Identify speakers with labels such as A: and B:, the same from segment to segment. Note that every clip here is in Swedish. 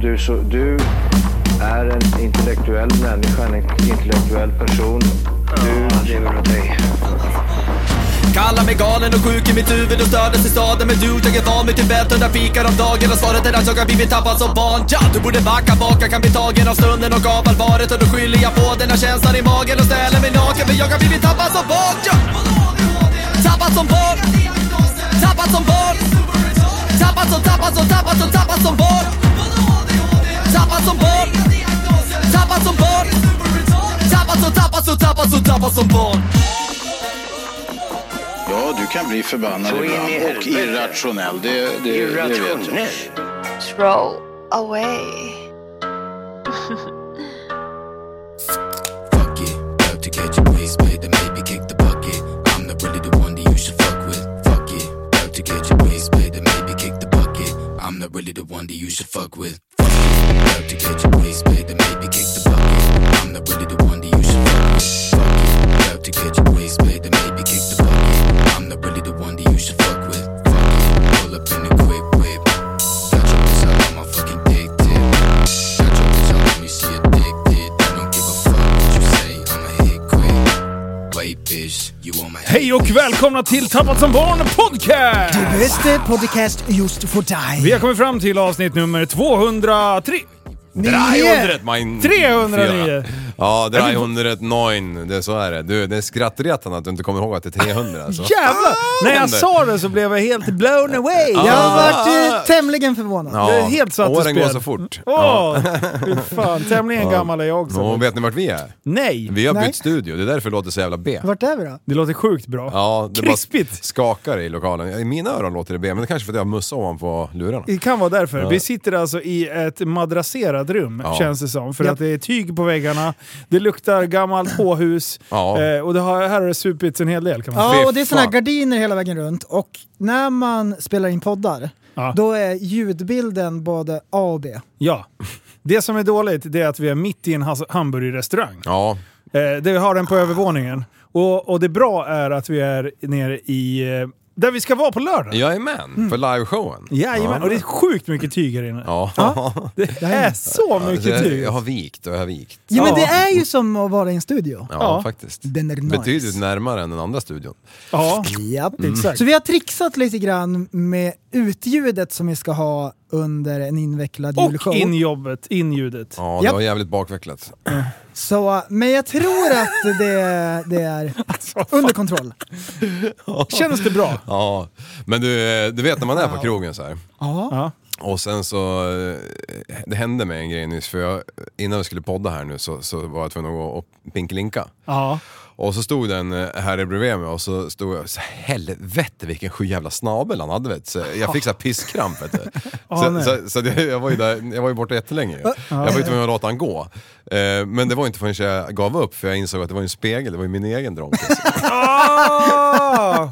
A: du, så, du är en intellektuell människa, en intellektuell person. Du lever av dig.
B: Kallar mig galen och sjuk i mitt huvud och stördes i staden Men du, jag är van vid Tibet och där fikar om dagen Och svaret är att jag har blivit tappad som barn ja, Du borde backa bak, jag kan bli tagen av stunden och av allvaret Och då skyller jag på den här känslan i magen och ställer mig naken För jag har blivit tappad som barn ja. Tappad som barn Tappad som barn Tappad som, tappad som, tappad som, tappad som barn Tappad som barn Tappad som barn Tappad som, tappad som, tappad som, tappad som barn
C: Ja, du kan bli förbannad
A: Så in i
C: ibland och
A: helvete.
C: irrationell. Det, det, det vet jag.
A: Irrationell.
D: Throw away.
E: Fuck it, about to catch a waste plate that maybe kick the bucket. I'm not really the one that you should fuck with. Fuck it, about to catch a waste plate that maybe kick the bucket. I'm not really the one that you should fuck with. Fuck it, about to catch a waste plate that maybe kick the bucket. I'm not really the one that you should fuck with. Fuck it, about to catch a waste plate that maybe kick the bucket. I'm not really the one that you should fuck with. Fuck it, pull up in a quick whip. Got your bitch out on my fucking dick tip. Got your bitch out on me, she addicted. I don't give a fuck what you say, I'ma hit quick. Wait, bitch, you on my
F: Hej och välkomna till Tappat som barn podcast!
G: Det bästa podcast just för dig.
F: Vi har kommit fram till avsnitt nummer 203.
G: Nio!
H: 300 mein...
F: 309.
H: Ja, 309. Det, så är det. Du, det är skrattretande att du inte kommer ihåg att det är 300 alltså.
F: Jävlar! När jag sa det så blev jag helt blown away.
G: Ah! Jag vart eh, tämligen förvånad.
H: Ja,
F: Jag är helt satt ur
H: Ah. Åren går
F: spel.
H: så fort.
F: Åh! Fy fan, tämligen gammal är jag också.
H: Och vet ni vart vi är?
F: Nej!
H: Vi har
G: Nej.
H: bytt studio, det är därför det låter så jävla B.
G: Vart är vi då?
F: Det låter sjukt bra.
H: Ja, det bara
F: Krispigt!
H: skakar i lokalen. I mina öron låter det B, men det kanske för att jag har mussa ovanpå lurarna.
F: Det kan vara därför. Vi sitter alltså i ett madrasserat rum,
H: Ja.
F: känns det som. För
G: Japp.
F: att det är tyg på väggarna, det luktar gammalt H-hus
H: Ja.
F: eh, och det har, här har det supits en hel del kan man säga.
G: Ja,
H: Fy
G: och det är såna här
H: fan.
G: gardiner hela vägen runt och när man spelar in poddar,
F: Ja.
G: då är ljudbilden både A och B.
F: Ja. Det som är dåligt det är att vi är mitt i en has- hamburgerrestaurang.
H: Ja,
F: Eh, det har den på övervåningen. Och, och det bra är att vi är nere i... Eh, där vi ska vara på lördag.
H: jag är med för liveshowen.
F: Jajamän,
H: Ja.
F: och det är sjukt mycket tyg här inne.
H: Ja.
F: Det är så
H: Så
F: mycket
H: jag,
F: tyg.
H: jag har vikt och jag har vikt.
G: Ja, men
F: Ja.
G: det är ju som att vara i en studio.
H: Ja,
F: Ja.
H: faktiskt.
G: Den är nice.
H: Betydligt närmare än den andra studion.
F: Ja.
G: Japp.
F: Mm. Exakt.
G: Så vi har trixat lite grann med utljudet som vi ska ha under en invecklad julshow.
F: Och injobbet, inljudet.
H: Ja, det
G: Japp.
H: var jävligt bakvecklat.
G: Så, men jag tror att det, det är
F: Alltså,
G: under kontroll.
F: Känns det bra?
H: Ja, men du, eh, du vet när man är på krogen så här.
G: Ja.
F: Ja.
H: Och sen så, eh, det hände mig en grej nyss, för jag, innan vi skulle podda här nu så, så var jag tvungen att gå och pinkelinka.
F: Ja.
H: Och så stod den eh, här bredvid mig och så stod jag så helvete vilken sju jävla snabel han hade vet du. Så Jag fick så här pisskramp vet du.
F: Ah, nej.
H: Så, så, så det, jag, var ju där, jag var ju borta jättelänge ju. Jag var ju tvungen att låta han gå. Eh, Men det var inte förrän jag gav upp för jag insåg att det var ju en spegel, det var ju min egen dronke.
F: Ah!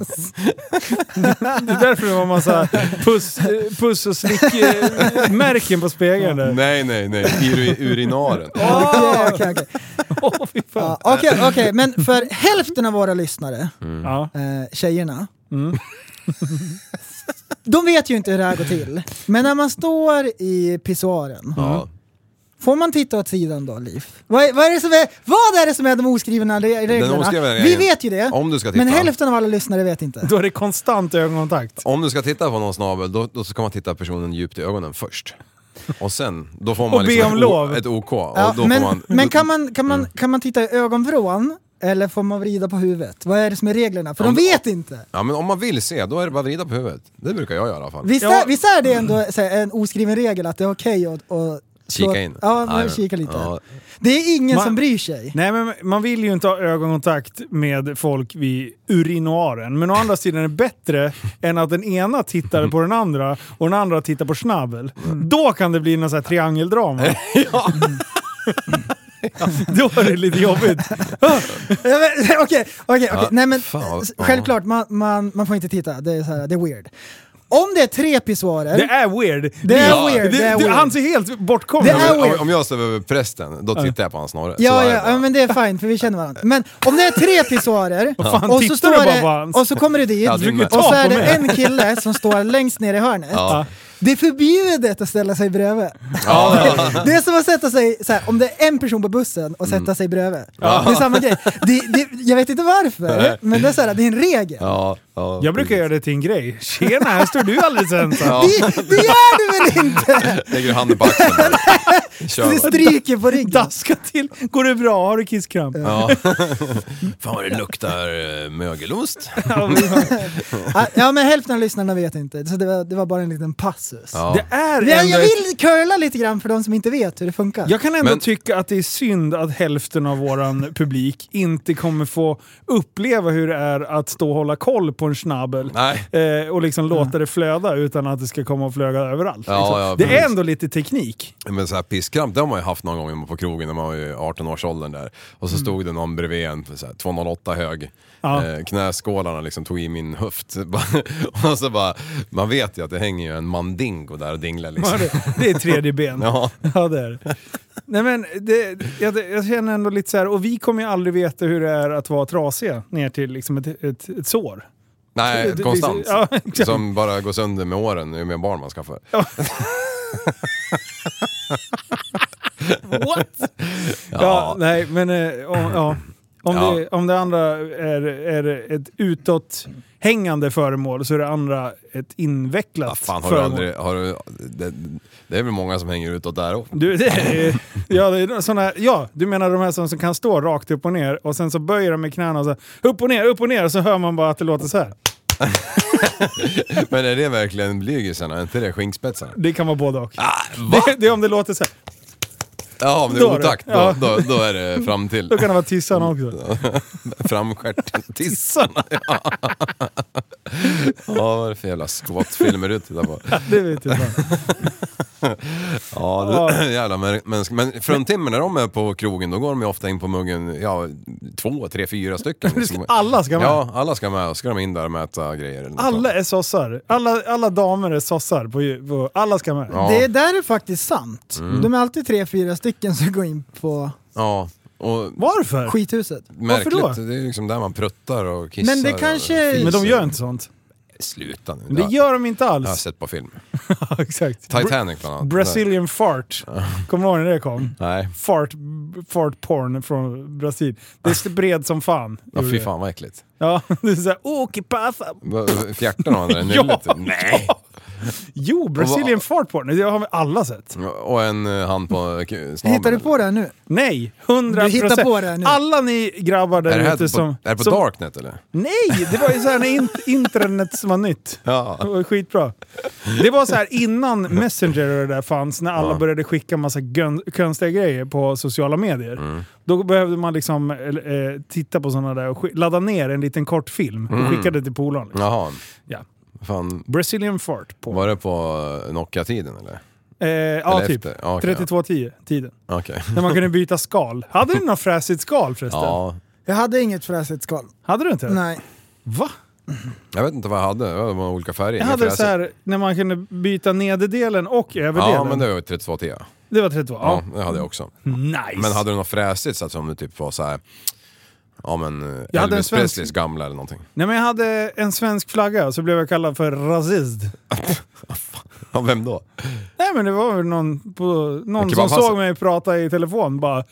F: Det är därför det var massa puss, puss och slick-märken på spegeln där.
H: nej nej nej, ur, urinaren.
G: Okej, okej, okej.
F: Åh, fy fan.
G: Ja, Okej, okej, men för hälften av våra lyssnare,
F: Ja.
G: eh, tjejerna, de vet ju inte hur det här går till. Men när man står i pissoaren,
H: Ja.
G: får man titta åt sidan då, Liv? Vad, är- vad, är det som är, vad är det som är de oskrivna re- reglerna?
H: oskrivna
G: Vi
H: regeln.
G: vet ju det,
H: Om du ska titta.
G: men hälften av alla lyssnare vet inte.
F: Då är det konstant ögonkontakt.
H: Om du ska titta på någon snabel, då, då ska man titta personen djupt i ögonen först. Och sen, då får man
F: Och be
H: liksom
F: om
H: ett
F: lov.
H: O- ett OK. Och
G: Ja,
H: då får
G: men
H: man, Mm.
G: men kan, man, kan, man, kan man titta i ögonvrån eller får man vrida på huvudet? Vad är det som är reglerna? För de
H: Om-
G: vet inte.
H: Ja men om man vill se, då är det bara att vrida på huvudet. Det brukar jag göra i alla fall.
G: Visst,
F: Ja.
G: är, visst är det ändå så här, en oskriven regel att det är okej att, att slå-
H: Kika in.
G: Ja, man
H: Jajamän.
G: kika lite.
H: Ja.
G: Det är ingen
F: Man-
G: som bryr sig.
F: Nej, men man vill ju inte ha ögonkontakt med folk vid urinoaren. Men å andra sidan är det bättre än att den ena tittar på den andra och den andra tittar på snabbel. Då kan det bli någon sån här triangeldrama. Då är det lite jobbigt.
G: Ja, men- Okej, okej, okej.
H: Ja,
G: Nej men
H: fan,
G: s-
H: ja.
G: självklart, man, man, man får inte titta. Det är, så här, det är weird. Om det är tre pissoarer,
F: Det är weird.
G: Det är weird,
F: Det,
G: det är
F: det,
G: weird.
F: han ser helt bortkommen
G: Det
H: Ja,
G: är
H: men
G: weird.
H: om, om jag står över prästen, då tittar jag på hans snorre. Så
G: Ja,
H: är det
G: ja,
H: bara.
G: ja, men det är fint för vi känner varandra. Men om det är tre pissoarer
F: fan,
G: och, så
F: tittar du
G: står
F: bara på hans?
G: det, och så kommer du dit
H: Ja, din
G: och så
F: med.
G: är
F: Ta på
G: det
F: mig.
G: en kille som står längst ner i hörnet.
H: Ja.
G: Det är förbjudet att ställa sig bredvid.
H: Ja.
G: Det är som att sätta sig, så här, om det är en person på bussen, och sätta
H: Mm.
G: sig bredvid. Det är samma grej. Det, det, jag vet inte varför, men det är, så här, det är en regel.
H: Ja, ja,
F: Jag brukar göra det till en grej. Tjena, här står du alldeles ensam.
H: Ja,
G: Det, det gör du väl inte?
H: lägger du handen på axeln. där. Kör.
G: Det
H: va.
G: stryker på ryggen.
F: Daska till. Går det bra? Har du kisskramp?
H: Ja. Fan vad det luktar eh, mögelost.
G: Ja men hälften av lyssnarna vet inte, så det var, det var bara en liten passus.
H: Ja. eh,
F: Det är
G: Men Jag,
F: ändå
G: jag
F: ett-
G: vill curla lite grann för de som inte vet hur det funkar.
F: Jag kan ändå
H: Men-
F: tycka att det är synd att hälften av våran publik inte kommer få uppleva hur det är att stå och hålla koll på en schnabel.
H: Nej.
F: Eh, och liksom låta det flöda utan att det ska komma och flöga överallt.
H: Ja,
F: liksom.
H: ja,
F: det är
H: precis.
F: ändå lite teknik.
H: Men så här pisskramp, det har man ju haft någon gång när man var på krogen när man var i 18-årsåldern där. Och så stod det någon bredvid en, så här, 208 hög.
F: Mm. Ja.
H: Eh, knäskålarna liksom tog i min höft. och så bara, man vet ju att det hänger ju en mandingo där och dinglar liksom.
F: Det är tredje ben.
H: Ja.
F: Ja, det är det. Nej, men det, jag, jag känner ändå lite så här, och vi kommer ju aldrig veta hur det är att vara trasiga ner till liksom ett, ett, ett sår. Det-
H: Nej,
F: det-
H: konstant.
F: ja, exakt.
H: som bara går sönder med åren, ju mer barn man skaffar.
F: What? Ja, nej, men eh, om, ja. Om,
H: Ja.
F: Det, om det andra är, är ett utåthängande föremål så är det andra ett invecklat
H: Ah, fan, har du
F: föremål.
H: aldrig, har du, det, det är väl många som hänger utåt där också.
F: Du, det är, ja, det är såna, ja, du menar de här som, som kan stå rakt upp och ner och sen så böjer de med knäna och så här, upp och ner, upp och ner och så hör man bara att det låter så här.
H: Men är det verkligen blygisarna? Är inte det skinkspetsarna?
F: Det kan vara både och.
H: Va?
F: Det, det är om det låter så här.
H: Ja, om det
F: Ah, Då är
H: är
F: det.
H: otakt,
F: Ja.
H: då, då, då är det fram till.
F: Då kan det vara tissarna också.
H: Framstjärten. Tissarna, ja. Ja, vad är det för jävla skåtfilmer du tittar på?
F: Det vet jag inte.
H: Ja, det, jävla men, men, men fruntimmer när de är på krogen, då går de ju ofta in på muggen, ja, två, tre, fyra stycken. Liksom.
F: Alla ska med.
H: Ja, alla ska med. Ska de in där och mäta grejer. eller något
F: Alla
H: sånt.
F: är sossar. Alla, alla damer är sossar. På, på, alla ska med.
H: Ja.
G: Det där är faktiskt sant.
H: Mm.
G: De är alltid tre, fyra stycken som går in på
H: Ja, och
F: Varför?
G: skithuset.
H: märkligt.
F: då?
H: Det är liksom där man pruttar och kissar.
G: Men det
H: och
G: kanske-
H: fiser.
F: Men de gör inte sånt.
H: Sluta nu.
F: Det gör de inte
H: Jag har
F: alls.
H: sett på film.
F: Exakt.
H: Titanic bland annat.
F: Brazilian fart. Kommer du ihåg när det kom?
H: Nej.
F: Fart, fart porn från Brasil. Det spred som fan.
H: Ja, fy fan vad äckligt.
F: Ja, det är såhär åker passa.
H: Vad- Fjärtar någon där i
F: Ja,
H: nyllet?
F: ja.
H: Nej!
F: Jo, Brazilian fart porn. Det har vi alla sett.
H: Och en eh, hand på k- snabeln.
G: Hittar du på det här nu?
F: Nej, 100%.
G: Du hittar på det här nu.
F: Alla ni grabbar
H: Är det
F: där
H: här på,
F: ute som...
H: är det på
F: som,
H: Darknet eller?
F: Nej, det var ju såhär när in, internet som var nytt. Det
H: Ja.
F: var skitbra. Det var så här innan Messenger och det där fanns, när alla
H: Ja.
F: började skicka massa gön- konstiga grejer på sociala medier.
H: Mm.
F: Då behövde man liksom eh, eh, titta på sådana där och sk- ladda ner en liten kort film och
H: Mm.
F: skicka det till polaren. Liksom.
H: Jaha.
F: Ja.
H: Fan,
F: Brazilian fart på.
H: var det på Nokia-tiden eller?
F: Eh, ja,
H: Eller
F: typ.
H: efter? Ja, okej,
F: 3210 tiden.
H: Okej.
F: När man kunde byta skal. Hade du något fräsigt skal förresten?
H: Ja.
G: Jag hade inget fräsigt skal.
F: Hade du inte?
G: Nej.
F: Va?
H: Jag vet inte vad jag hade. Det var olika färger.
F: Jag
H: Inga
F: hade så
H: fräser.
F: här när man kunde byta nederdelen och överdelen.
H: Ja, men det var ju 32T. Ja,
F: Det var 32.
H: ja
F: Ja.
H: det hade jag också.
F: Nice!
H: Men hade du något fräsigt så att som du typ var så här. Ja men eh,
F: Jag hade en
H: Elvis
F: svensk-
H: Presleys gamla eller någonting.
F: Nej men jag hade en svensk flagga och så blev jag kallad för rasist.
H: Ja, vem då?
F: Nej men det var väl någon, på, någon som
H: Kebabpasset.
F: såg mig prata i telefon bara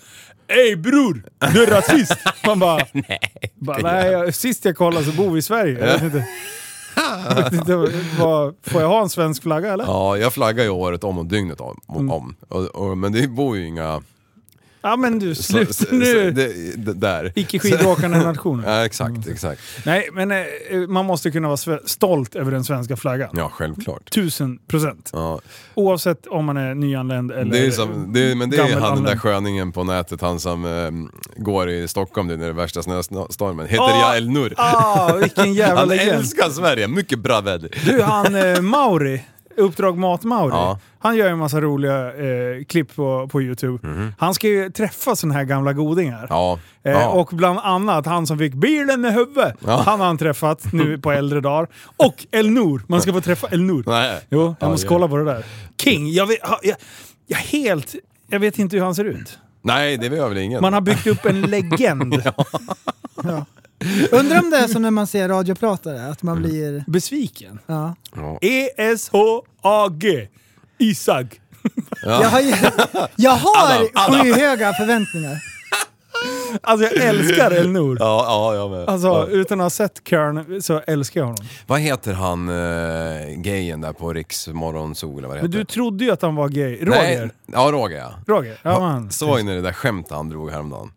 F: Ey bror, du är rasist! Man bara... nej. Bara, nej jag, sist jag kollade så bor vi i Sverige. Jag vet inte. Jag vet inte vad, får jag ha en svensk flagga eller? Ja,
H: Ja, jag flaggar ju året om och dygnet om.
F: Mm.
H: om. Och, och, men det bor ju inga...
F: men du,
H: så-
F: slut
H: så- så-
F: nu!
H: det- det- där.
F: Icke skidåkande nationer.
H: Ja, exakt, exakt.
F: Nej men eh, man måste kunna vara sve- stolt över den svenska flaggan.
H: Ja, självklart.
F: Tusen procent.
H: Ja.
F: Oavsett om man är nyanländ eller
H: Det är ju som, det är, men det är ju han den där
F: gammelanländ.
H: sköningen på nätet, han som ehm, går i Stockholm nu när det är värsta snöstormen. Heter
F: Ah,
H: Jael Nur.
F: Ah, vilken jävla
H: Han
F: legend.
H: älskar Sverige, mycket bra väder.
F: Du, han eh, Mauri, Uppdrag Mat-Mauri,
H: Ja.
F: han gör ju en massa roliga eh, klipp på, på YouTube. Han ska ju träffa såna här gamla godingar.
H: Mhm. Ja.
F: Eh,
H: ja.
F: Och bland annat han som fick bilen med huvudet.
H: Ja.
F: Han har han träffat nu på äldre dagar. Och Elnor, man ska få träffa Elnor.
H: Nej.
F: Jo, jag
H: Ja,
F: måste
H: ja.
F: kolla på det där. King, jag vet, ha- jag, jag helt... Jag vet inte hur han ser ut.
H: Nej, det gör väl ingen.
F: Man har byggt upp en legend.
G: Undrar om det är som när man ser radiopratare, att
H: Mm.
G: man blir...
F: Besviken. E
G: Ja.
F: E-S-H-A-G. Isag.
G: Jag har, ju- jag har
H: Adam, Adam.
G: skyhöga förväntningar.
F: Alltså jag älskar Elnor.
H: Ja, ja, jag med.
F: Alltså
H: ja.
F: utan att ha sett Kern så älskar jag honom.
H: Vad heter han uh, gayen där på Riksmorgonzoo eller vad det
F: Men
H: heter?
F: du trodde ju att han var gay. Roger.
H: Nej, ja, Roger ja.
F: Roger. Ja, man.
H: Såg ni det där skämtet han drog häromdagen?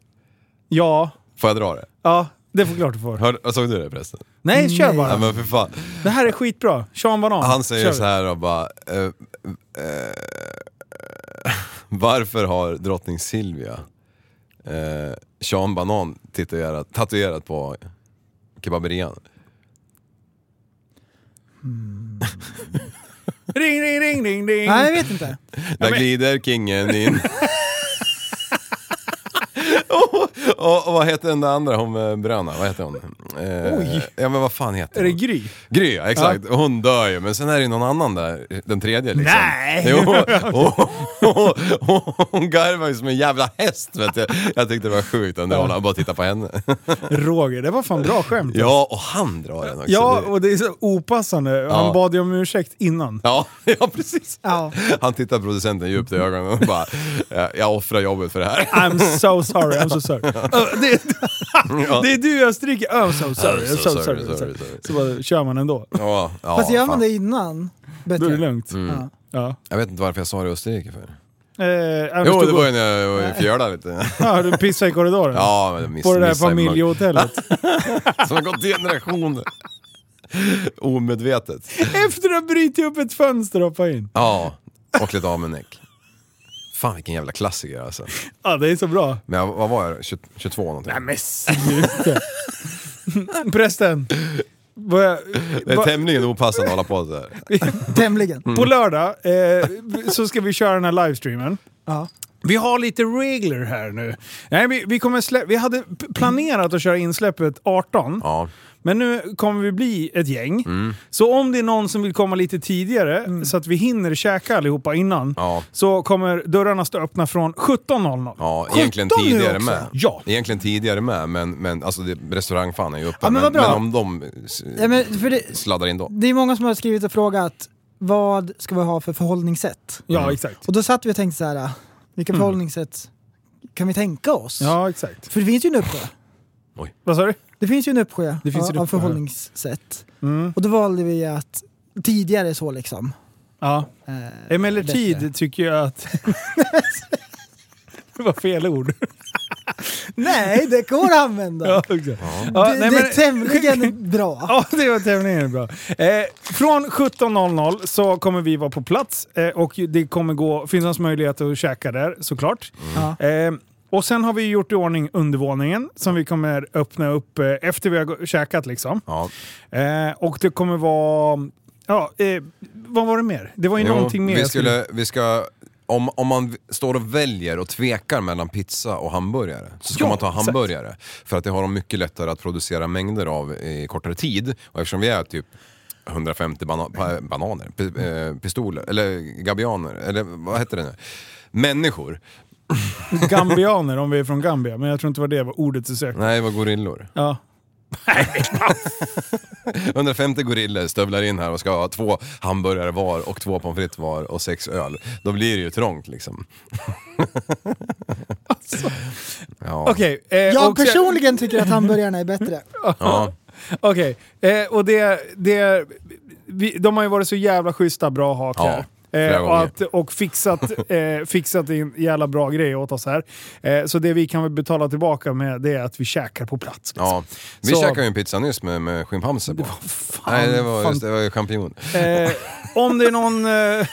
F: ja.
H: Får jag dra det?
F: ja, det får klart du får.
H: Hör, såg du det förresten?
F: Nej, kör bara.
H: Nej Mm. men för fan.
F: Det här är skitbra. Sean Banan.
H: Han säger
F: Kör.
H: så här och bara... eh, eh, varför har drottning Silvia eh, Sean Banan tatuerat, tatuerat på kebaberian?
F: Ring, ring, ring, ring, ring.
G: Nej, jag vet inte.
H: Där glider kingen in. och, och, och vad heter den där andra, hon med bröna, vad heter hon? Eh,
F: Oj.
H: Ja men vad fan heter
F: Är det
H: hon?
F: Gry?
H: Gry, ja, exakt. Hon dör ju, men sen är det ju någon annan där, den tredje liksom.
F: Nej!
H: Jo, och- och- och- hon garvar ju som en jävla häst vet jag. Jag tyckte det var sjukt underhållande, Jag bara titta på henne.
F: Roger, det var fan bra skämt.
H: Ja, och han drar den också.
F: Ja,
H: Det-
F: och det är så opassande. Han
H: Ja.
F: bad ju om ursäkt innan.
H: ja, ja precis.
G: Ja.
H: Han tittar producenten djupt i ögonen och bara, "Ja, jag offrar jobbet för det här.
F: I'm so sorry, I'm so sorry. Ö, det, det är du i Österrike, I'm so sorry, I'm so, sorry, sorry,
H: sorry.
F: Så bara, kör man ändå.
H: Ja, ja,
G: Fast gör man
H: fan.
G: det innan,
F: Då är det
G: bättre.
F: lugnt.
H: Mm.
G: Ja.
F: Ja.
H: Jag vet inte varför jag sa det i Österrike för.
F: Eh, jag
H: Jo,
F: förstod
H: det var ju när jag var i Fjöla vet du.
F: Ja, du pissade i korridoren.
H: Ja, men jag miss,
F: På det där
H: missade ju många-
F: familjehotellet.
H: Som har gått i generationer. Omedvetet.
F: Efter att ha brutit upp ett fönster och hoppat in.
H: Ja, och lite Amenek. Fan vilken jävla klassiker alltså.
F: Ja, det är så bra.
H: Men jag, vad var jag? 20, 22 någonting? Nej,
F: Men sluta. Prästen. Vad jag-
H: det är
F: vad-
H: tämligen opassande att hålla på sådär.
G: Tämligen.
F: På lördag eh, så ska vi köra den här livestreamen.
G: Ja.
F: Vi har lite regler här nu. Nej, vi, vi, kommer slä- vi hade p- planerat att köra insläppet 18,
H: Ja. Mm.
F: men nu kommer vi bli ett gäng. Så om det är någon som vill komma lite tidigare, så att vi hinner käka allihopa innan,
H: Ja.
F: så kommer dörrarna stå öppna från 17.00.
H: Ja, egentligen
F: 17 nu
H: tidigare
F: också.
H: med.
F: Ja.
H: Egentligen tidigare med, men, men alltså det, restaurangfan är ju uppe.
G: Ja, men
H: men,
G: vad
H: men
G: bra.
H: om de s-
G: Ja, men för det,
H: sladdar in då.
G: det är många som har skrivit och frågat vad ska vi ha för förhållningssätt?
F: Ja,
H: Mm.
F: exakt.
G: Och då satt vi och tänkte så här, vilka förhållningssätt kan vi tänka oss?
F: Ja, exakt.
G: För det finns ju en uppsjö.
F: Vad sa du?
G: Det finns ju en uppsjö,
F: Det finns
G: av,
F: en
G: av
F: uppsjö.
G: förhållningssätt.
F: Mm.
G: Och då valde vi att tidigare så liksom.
F: Ja.
G: Eh,
F: Emellertid
G: bättre.
F: tycker jag att... det var fel ord.
G: Nej, det går att använda.
F: Ja, exakt. Ja,
G: det,
F: nej,
G: det
F: men-
G: är tämligen bra.
F: Ja, det var tämligen bra. Eh, från 17.00 så kommer vi vara på plats eh, och det kommer gå, finnas möjlighet att käka där såklart.
G: Ja.
F: Eh, och sen har vi gjort i ordning undervåningen som vi kommer öppna upp eh, efter vi har gå- käkat liksom.
H: Ja.
F: Eh, och det kommer vara... Ja, eh, vad var det mer? Det var ju någonting mer. alltså,
H: vi,
F: jag
H: skulle, vi ska... Om, om man v- står och väljer och tvekar mellan pizza och hamburgare så ska
F: Ja,
H: man ta
F: exakt.
H: hamburgare. För att det har de mycket lättare att producera mängder av i kortare tid. Och eftersom vi är typ 150 bana, pa- bananer, pi- eh, pistoler, eller gabianer, eller vad heter det nu? Människor.
F: Gambianer om vi är från Gambia, men jag tror inte det var det var ordet du sökte.
H: Nej, vad gorillor.
F: Ja.
H: 150 gorillor stövlar in här och ska ha två hamburgare var och två pommes frites var och sex öl. Då blir det ju trångt liksom. Ja.
F: Alltså. Okej. eh,
G: Jag
F: och-
G: personligen tycker att hamburgarna är bättre.
H: Ja.
F: Okej, eh, och det, det, vi, de har ju varit så jävla schyssta bra hak
H: Ja,
F: här.
H: flera
F: Eh, och,
H: gånger.
F: att, och fixat, eh, fixat en jävla bra grej åt oss här. Eh, så det vi kan väl betala tillbaka med det är att vi käkar på plats. liksom.
H: Ja, vi
F: Så-
H: käkade ju en pizza nyss med, med schimpanser på.
F: Fan,
H: Nej, det var,
F: fan.
H: just, det var ju champinjon.
F: Eh, om det är någon... Eh,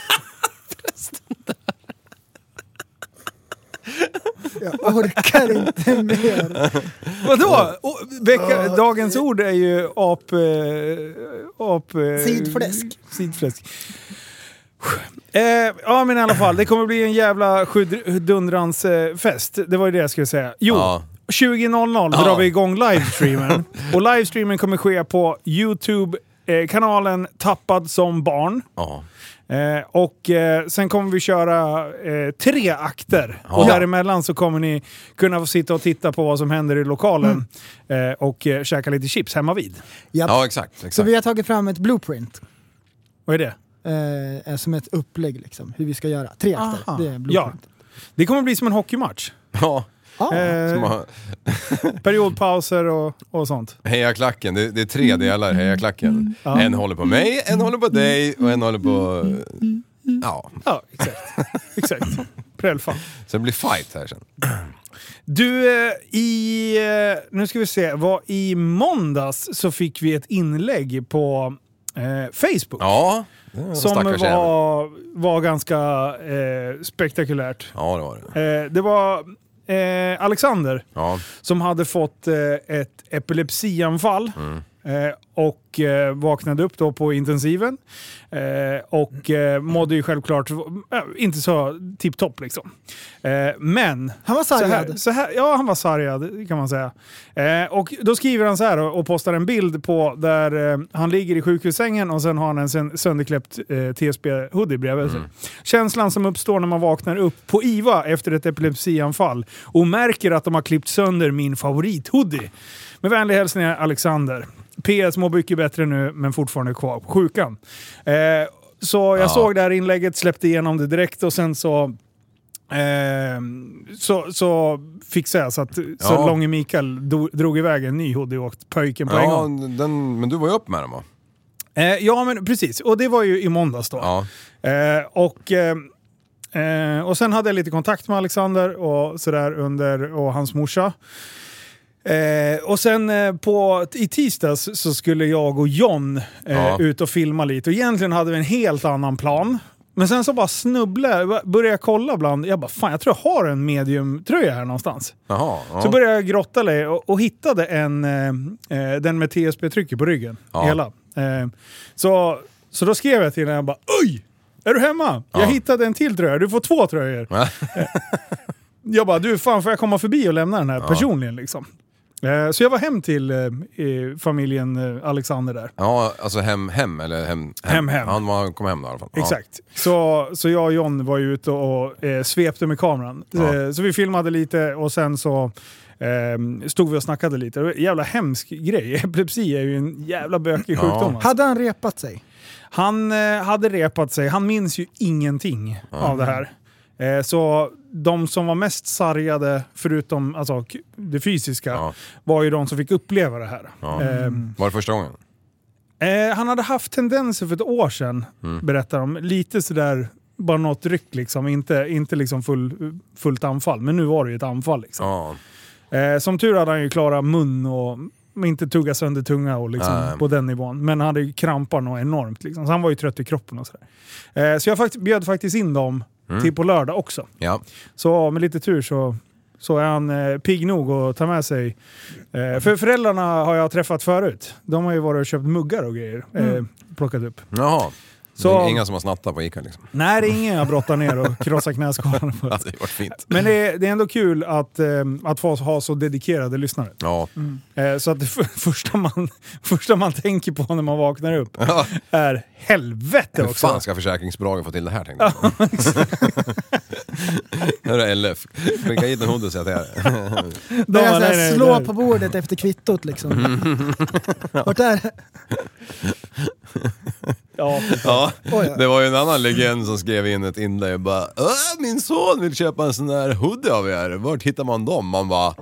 G: Jag orkar inte mer.
F: vadå? Och, vecka, dagens ord är ju ap... Eh, ap eh,
G: Sidfläsk.
F: Sidfläsk. Eh, ja men i alla fall, det kommer bli en jävla sjudundrans eh, fest. Det var ju det jag skulle säga. Jo,
H: Ja.
F: 20.00 drar vi igång livestreamen. och livestreamen kommer ske på youtube.com eh, kanalen Tappad som barn.
H: Ja.
F: Eh, och eh, sen kommer vi köra eh, tre akter. Och däremellan så kommer ni kunna få sitta och titta på vad som händer i lokalen.
H: Mm.
F: Eh, och eh, käka lite chips hemma vid.
G: Japp.
H: ja, exakt. exakt.
G: Så vi har tagit fram ett blueprint.
F: Vad är det?
G: Eh, som ett upplägg liksom, hur vi ska göra. Tre akter, det är
F: Ja.
G: blueprint. Ah.
F: Det kommer bli som en hockeymatch.
H: Ja.
G: Ja.
F: Eh,
H: som har-
F: periodpauser och, och sånt.
H: Heja klacken, det, det är tre delar Heja klacken.
F: Mm. Ja. Mm.
H: En håller på mig, en håller på dig och en håller på... Ja,
F: Ja, exakt. exakt. Prälfan.
H: så det blir fight här sen.
F: Du, eh, i... eh, Nu ska vi se. Var I måndags så fick vi ett inlägg på eh, Facebook.
H: Ja, det var
F: Som
H: stackars jävel.
F: var, var ganska eh, spektakulärt.
H: Ja, det var det.
F: Eh, det var eh, Alexander
H: Ja,
F: som hade fått eh, ett epilepsianfall. Eh, och eh, vaknade upp då på intensiven. Eh, och eh, mådde ju självklart eh, inte så tipptopp liksom. Eh, men...
G: Han var
F: Så här,
G: sargad.
F: så här, ja, han var sargad kan man säga. Eh, och då skriver han så här och, och postar en bild på där eh, han ligger i sjukhussängen och sen har han en sen, sönderkläppt eh, TSB-hoodie bredvid sig. Känslan som uppstår när man vaknar upp på IVA efter ett epilepsianfall och märker att de har klippt sönder min favorithoodie. Med vänliga hälsningar Alexander. PS mår mycket bättre nu men fortfarande kvar på sjukan. Eh, så jag såg det här inlägget, släppte igenom det direkt och sen så Ehm, så, så fixade jag så att så
H: Ja.
F: Långe Mikael do, drog iväg en ny hoodie och åkte pöjken på en
H: ja
F: gång.
H: den, men du var ju upp med den va?
F: Eh, ja, men precis. Och det var ju i måndags då.
H: Ja.
F: Eh, och, eh, eh, och sen hade jag lite kontakt med Alexander och sådär under och hans morsa. Eh, och sen eh, på, i tisdags så skulle jag och John eh,
H: Ja.
F: ut och filma lite och egentligen hade vi en helt annan plan. Men sen så bara snubblade jag, började jag kolla bland, jag bara fan jag tror jag har en mediumtröja här någonstans.
H: Jaha. Ja.
F: Så började jag grotta lite och, och hittade en, eh, eh, den med TSB-trycket på ryggen.
H: Ja.
F: Hela. Eh, så, så då skrev jag till henne, jag bara Oj! Är du hemma?
H: Ja.
F: Jag hittade en till tröja, du får två tröjor. Eh,
H: Ja.
F: jag bara, du fan får jag komma förbi och lämna den här personligen liksom? Eh, så jag var hem till eh, eh, familjen eh, Alexander där.
H: ja, alltså hem, hem eller hem...
F: Hem, hem.
H: Han var, kom hem då i alla fall. Ja.
F: Exakt. Så, så jag och John var ju ute och eh, svepte med kameran.
H: Ja.
F: Eh, så vi filmade lite och sen så ehm, stod vi och snackade lite. Det var en jävla hemsk grej. Epilepsi är ju en jävla bökig sjukdom. Alltså.
G: Hade han repat sig?
F: Han eh, hade repat sig. Han minns ju ingenting av det här. Eh, så de som var mest sargade, förutom alltså, k- det fysiska,
H: Ja.
F: var ju de som fick uppleva det här.
H: Ja.
F: Ehm,
H: Var det första gången?
F: Eh, han hade haft tendenser för ett år sedan,
H: Mm.
F: berättar de. Lite sådär, bara något ryck liksom. Inte, inte liksom full, fullt anfall, men nu var det ju ett anfall. Liksom.
H: Ja.
F: Eh, som tur hade han ju klarat mun och men inte tugga sönder tunga och liksom
H: Nej.
F: på den nivån. Men han hade ju krampar något enormt. Liksom. Så han var ju trött i kroppen och sådär. Eh, så jag fakt- bjöd faktiskt in dem
H: Mm.
F: till på lördag också.
H: Ja.
F: Så med lite tur så, så är han eh, pigg nog att ta med sig. Eh, för föräldrarna har jag träffat förut. De har ju varit och köpt muggar och grejer. Eh, plockat upp.
H: Jaha.
F: Så-
H: Det är Inga som har snattat på Ica liksom.
F: Nej, det är ingen jag brottar ner och krossar knäskålarna på.
H: Ja, Det hade varit fint.
F: Men det är, det är ändå kul att, eh, att få ha så dedikerade lyssnare.
H: Ja.
F: Eh, så att det f- första, man, första man tänker på när man vaknar upp är helvete
H: Hur
F: också.
H: fan ska försäkringsbolagen få till det här tänkte jag. Hörru LF, skicka hit en hoodie så jag tar
F: De
G: Börjar
F: bara,
G: såhär
F: nej, nej,
G: slå
F: där.
G: på bordet efter kvittot liksom. Vart är det?
F: Ja,
H: Ja,
G: Oj, ja.
H: det var ju en annan legend som skrev in ett inlägg och bara "Äh, min son vill köpa en sån där hoodie av er, vart hittar man dem? Man bara,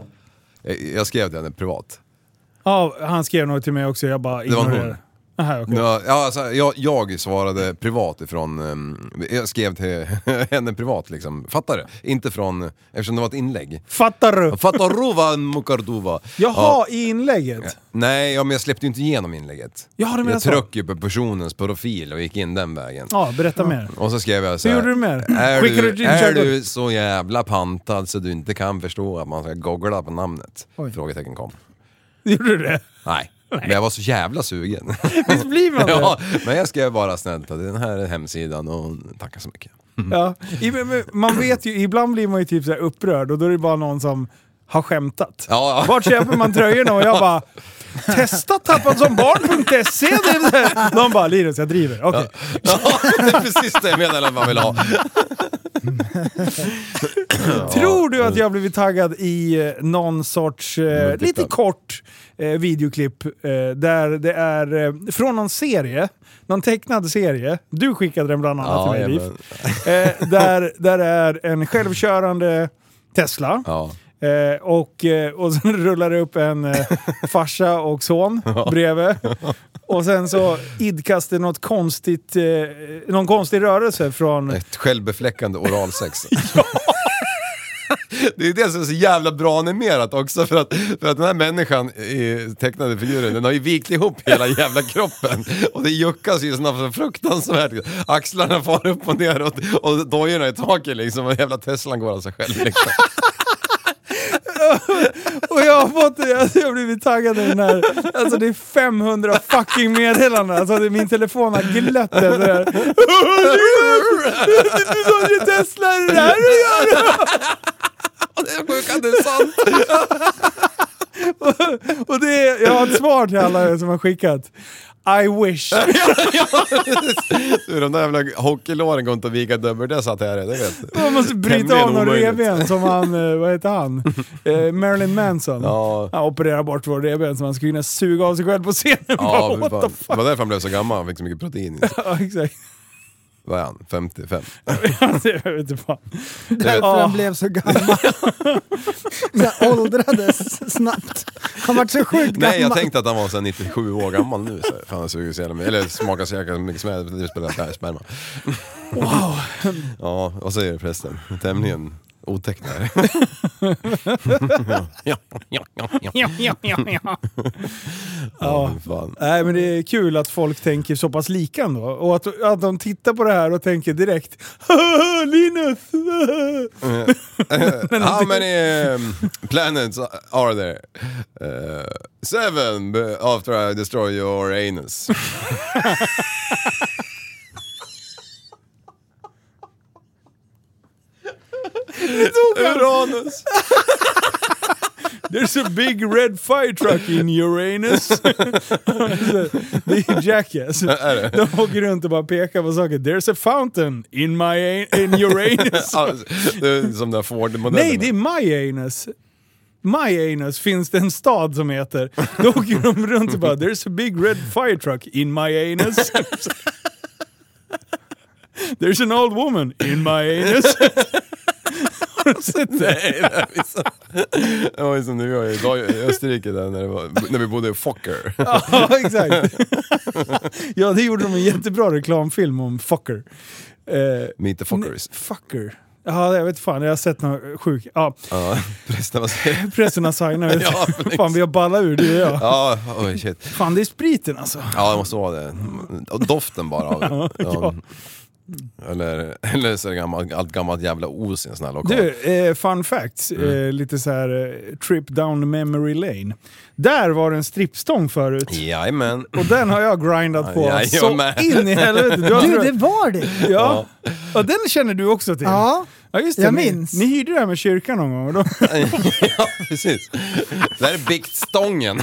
H: jag jag skrev den privat.
F: ja, han skrev något till mig också, jag bara
H: var en hon.
F: ignorerade. Aha, okay.
H: Ja, ja, alltså, jag, jag svarade privat ifrån, ehm, jag skrev till henne privat liksom, fattar du? Inte från, eftersom det var ett inlägg.
F: Fattar du?
H: Fattar du vad en mukarduva?
F: Jaha,
H: Ja.
F: i inlägget?
H: Nej, ja, men jag släppte ju inte igenom inlägget.
F: Ja, du menar
H: jag
F: så.
H: tryckte ju på personens profil och gick in den vägen.
F: Ja, berätta mer.
H: Och så skrev jag så här,
F: Hur gjorde du mer?
H: Är
F: Skickade
H: du,
F: du din
H: är
F: körkort?"
H: du så jävla pantad så du inte kan förstå att man ska googla på namnet? Frågetecken kom.
F: Gjorde du det?
H: Nej. Men jag var så jävla sugen.
F: Visst blir man det?
H: ja, men jag skrev bara snällt att den här är hemsidan och tackar så mycket.
F: Ja. I- men- men Man vet ju, ibland blir man ju typ så här upprörd och då är det bara någon som har skämtat.
H: Ja, ja.
F: Vart köper man tröjorna? Och jag bara, Testa tappadsombarn.se. Det är- De bara “Linus, jag driver”. Okej.
H: Ja, det är precis det jag menar att man vill ha.
F: Tror du att jag har blivit taggad i eh, någon sorts eh, lite kort eh, videoklipp eh, där det är eh, från någon serie, någon tecknad serie. Du skickade den bland annat till mig, Liv.
H: jajamän.
F: Eh, där, där är en självkörande Tesla.
H: ja.
F: Eh, och, eh, och sen rullar det upp en eh, farsa och son bredvid. Och sen så idkas det något konstigt, eh, någon konstig rörelse från...
H: Ett självbefläckande oralsex. ja. Det är det som är så jävla bra animerat också för att, för att den här människan i tecknade figuren, den har ju vikt ihop hela jävla kroppen och det juckas ju snabbt så fruktansvärt. Axlarna far upp och ner och, och dojorna i taket liksom och jävla Teslan går av sig själv liksom.
F: Och jag har fått alltså, jag har blivit taggad i den här. Alltså det är 500 fucking meddelanden. Alltså det, min telefon har glött efter det här. Du sa ju Tesla, är det där du gör?
H: Och det är sjukt att det är sant!
F: Och det är, jag har ett svar till alla er som har skickat. I wish.
H: Du, de där jävla hockeylåren går inte att vika dubbeldassat här, det vet du.
F: Man måste bryta
H: Tämligen
F: av några
H: omöjligt.
F: revben som han, eh, vad heter han? Eh, Marilyn Manson.
H: Ja.
F: Han opererar bort våra revben så han skulle kunna suga av sig själv på scenen.
H: Ja,
F: Bara,
H: fy
F: what the
H: fan.
F: fuck?
H: det var därför han blev så gammal, han fick så mycket protein.
F: Ja, exakt.
H: Vad är han? 55?
F: jag vet inte fan.
H: vet-
G: För han
F: Ja.
G: blev så gammal. så här, åldrades snabbt. Han var så sjukt gammal.
H: Nej, jag tänkte att han var så här 97 år gammal nu. Så här. Fan, han suger så jävla mycket. Eller smakar så jäkla mycket smär, det spelar där, sperma.
F: Wow.
H: Ja, vad säger prästen? Tämligen otecknad. ja, ja, ja, ja.
F: Ja, ja, ja, ja.
H: Ja, fan.
F: Nej, men det är kul att folk tänker så pass lika ändå. Och att, att de tittar på det här och tänker direkt "Haha, Linus!
H: How many um, planets are there? Uh, seven b- after I destroy your anus. Uranus!
F: There's a big red fire truck in Uranus. det är ju Jackass. De åker runt och bara pekar på saker. There's a fountain in, my a- in Uranus.
H: Alltså, det är som den där Ford-modellen.
F: Nej, det är My Anus. My Anus finns det en stad som heter. Då åker de runt och bara “There's a big red fire truck in my anus”. “There's an old woman in my anus”. Har du sett det?
H: Nej, det här är sant. Det var ju som du var i Dag- i Österrike där när, det var, när vi bodde i Fokker.
F: Ja, exakt. ja, det gjorde de en jättebra reklamfilm om fucker. Eh,
H: Meet the Fockers.
F: fucker. Ja, jag vet fan. Jag har sett något sjukt. Ja,
H: Ja, förresten vad säger du?
F: pressen har signat ut.
H: Ja, precis.
F: fan, vi har ballat ur, du och jag.
H: Ja, oj shit.
F: Fan, det är spriten alltså.
H: Ja, det måste vara det. Och Doften bara av det. Ja. Eller, eller så är det gammalt, allt gammalt jävla os i en sån här lokal.
F: Du, eh, fun facts.
H: Mm.
F: Eh, lite så här eh, trip down memory lane. Där var det en strippstång förut.
H: Jajamän.
F: Och den har jag grindat på
H: Ja, jag
F: så
H: med.
F: in i helvete. Du, har
G: Du,
F: drömt-
G: det var det!
F: ja. ja, den känner du också till.
G: Ja.
F: Ja, just det.
G: Jag
F: Ni-
G: minns.
F: Ni hyrde det här med kyrkan någon gång. Och då,
H: ja, precis. Det här är biktstången.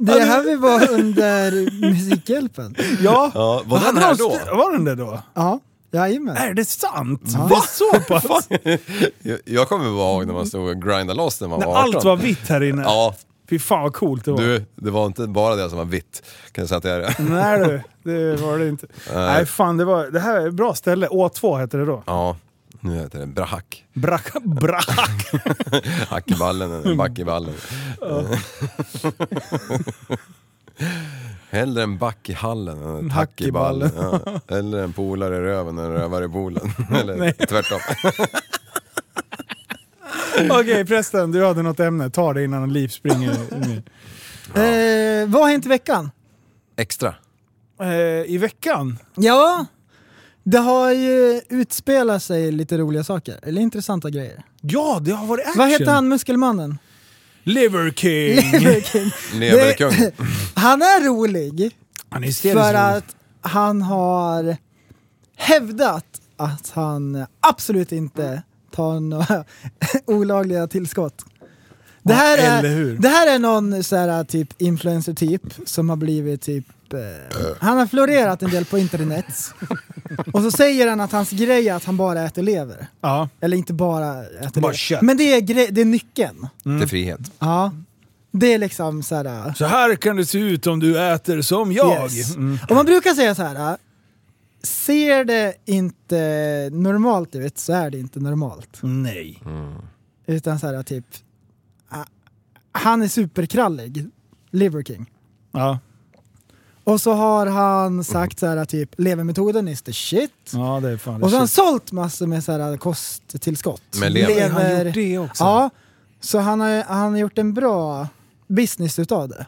G: Det här vi var under Musikhjälpen.
F: ja.
H: Ja, var den
F: Hade
H: här
F: de
H: då?
F: st- Var den det då?
G: Ja, jajamän.
F: Är det sant? Det är så pass?
H: Jag, jag kommer bara ihåg när man stod och grindade loss när man
F: När
H: var 18.
F: allt var vitt här inne.
H: Ja,
F: Fy fan vad coolt det var.
H: du, det var inte bara det som var vitt. Kan jag säga att det är det.
F: Nej du, det var det inte. Nej fan, det, var, det här är ett bra ställe. Å2 hette det då.
H: Ja, nu heter det Brahak.
F: Brack, brack.
H: Hack i ballen, eller back i ballen. Hellre en back i hallen än en hack i ballen. Ja. Eller en polare i röven än en rövare i poolen. Eller
F: Nej.
H: tvärtom.
F: Okej prästen, du hade något ämne. Ta det innan Liv springer. in.
G: Eh, vad har hänt i veckan?
H: Extra.
F: eh, I veckan?
G: Ja, det har ju utspelat sig lite roliga saker, eller intressanta grejer.
F: Ja, det har varit action.
G: Vad heter han, muskelmannen?
F: Liver King.
G: Lever King.
H: Lever kung.
G: Han är rolig
F: Han är hysteriskt
G: för
F: rolig.
G: att han har hävdat att han absolut inte tar några olagliga tillskott. Det här
F: Eller
G: är,
F: hur?
G: det här är någon så här, typ influencer-typ som har blivit typ... Eh, han har florerat en del på internet. Och så säger han att hans grej är att han bara äter lever.
F: Ja.
G: Eller inte bara äter
I: Bara
G: lever.
I: kött.
G: Men det är, gre- det är nyckeln.
H: Till frihet.
G: Ja. Det är liksom så här...
F: Så här kan det se ut om du äter som jag.
G: Yes.
F: Mm.
G: Och man brukar säga så här. äh, Ser det inte normalt ut så är det inte normalt.
F: Nej.
G: Mm. Utan så här typ. äh, Han är superkrallig, Liver King.
F: Ja.
G: Och så har han sagt så här typ levermetoden is the shit.
F: ja, det är fan
G: Och så har han
F: shit.
G: sålt massor med så här äh, kosttillskott.
H: Med lever.
F: Har han gjort det liksom. också?
G: Ja, så han har, han har gjort en bra business utav det.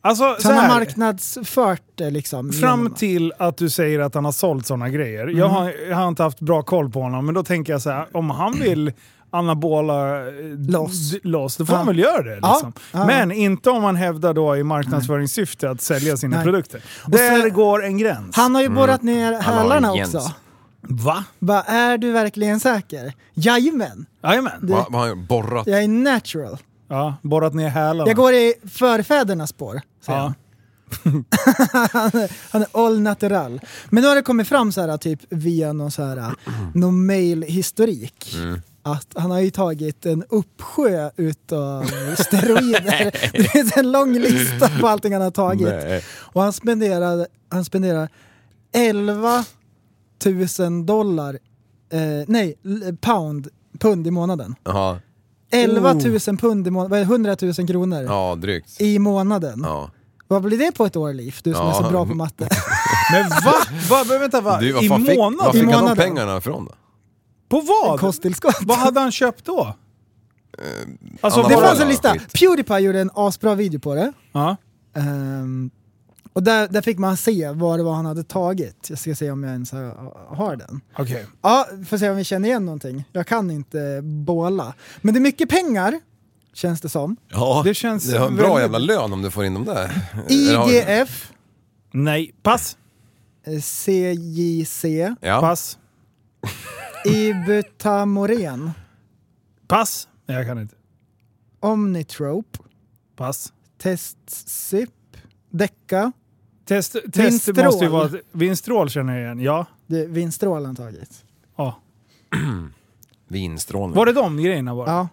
F: Alltså,
G: Så
F: så
G: han har
F: här.
G: marknadsfört det liksom.
F: Fram
G: genom-
F: till att du säger att han har sålt sådana grejer. Jag,
G: Mm.
F: har, jag har inte haft bra koll på honom, men då tänker jag så här, om han vill anabola eh,
G: Loss.
F: d- loss då får
G: Ja.
F: han väl göra det. Liksom.
G: Ja. Ja.
F: Men inte om han hävdar då i marknadsföringssyfte att sälja sina
G: Nej.
F: produkter.
G: så-
F: Där går en gräns.
G: Han har ju borrat
F: Mm.
G: ner
H: har en
G: hälarna
H: gräns.
G: också.
F: Va?
G: Bara, är du verkligen säker? Jajamän,
F: Jajamän.
H: Vad vad har han borrat?
G: jag är natural.
F: Ja, borrat ner hälarna.
G: Jag går i förfädernas spår. säger
F: ja.
G: han. Han är all natural. Men nu har det kommit fram så här, typ via någon, så här, någon mail-historik.
F: Mm.
G: Att han har ju tagit en uppsjö utav steroider. Det finns en lång lista på allting han har tagit. Och han spenderar, han spenderar 11 000 dollar, eh, nej l- pound, pund i månaden.
H: Jaha.
G: 11 000 pund i månaden, vad är det, 100 000 kronor
H: Oh. Ja, drygt.
G: i månaden.
H: Ja.
G: Vad blir det på ett år Liv? Du som är så
H: Ja.
G: bra på matte.
F: Men va? va? Men Vänta, va?
H: Du,
F: I
H: vad fan fick,
F: månaden?
H: var
G: I
H: fick han de
G: månaden.
H: pengarna ifrån då?
F: På vad?
G: Kosttillskott.
F: Vad hade han köpt då? Alltså,
H: Anna
G: Det
H: Vad
G: fanns
H: var
G: en
H: det?
G: lista.
H: Skit.
G: Pewdiepie gjorde en asbra video på det.
F: Ja.
G: Ehm, och där, där fick man se vad det var han hade tagit. Jag ska se om jag ens har, har den.
F: Okej.
G: Ja, får se om vi känner igen någonting. Jag kan inte båla. Men det är mycket pengar, känns det som.
H: Ja,
F: Det känns
H: det har en bra
F: väldigt-
H: jävla lön om du får in dem där. Eller har-
G: IGF,
F: Nej. Pass.
G: eh, CJC,
H: Ja.
F: Pass.
G: Ibutamoren,
F: Pass. Nej, jag kan inte.
G: Omnitrope,
F: Pass.
G: Testsip, Deca.
F: Test, test
G: Vinstrål.
F: måste ju vara... Vinstrål känner jag igen. Ja.
G: Det är Vinstrål han tagit.
F: ja.
H: Vinstrålning.
F: Var det de grejerna bara?
G: Ja.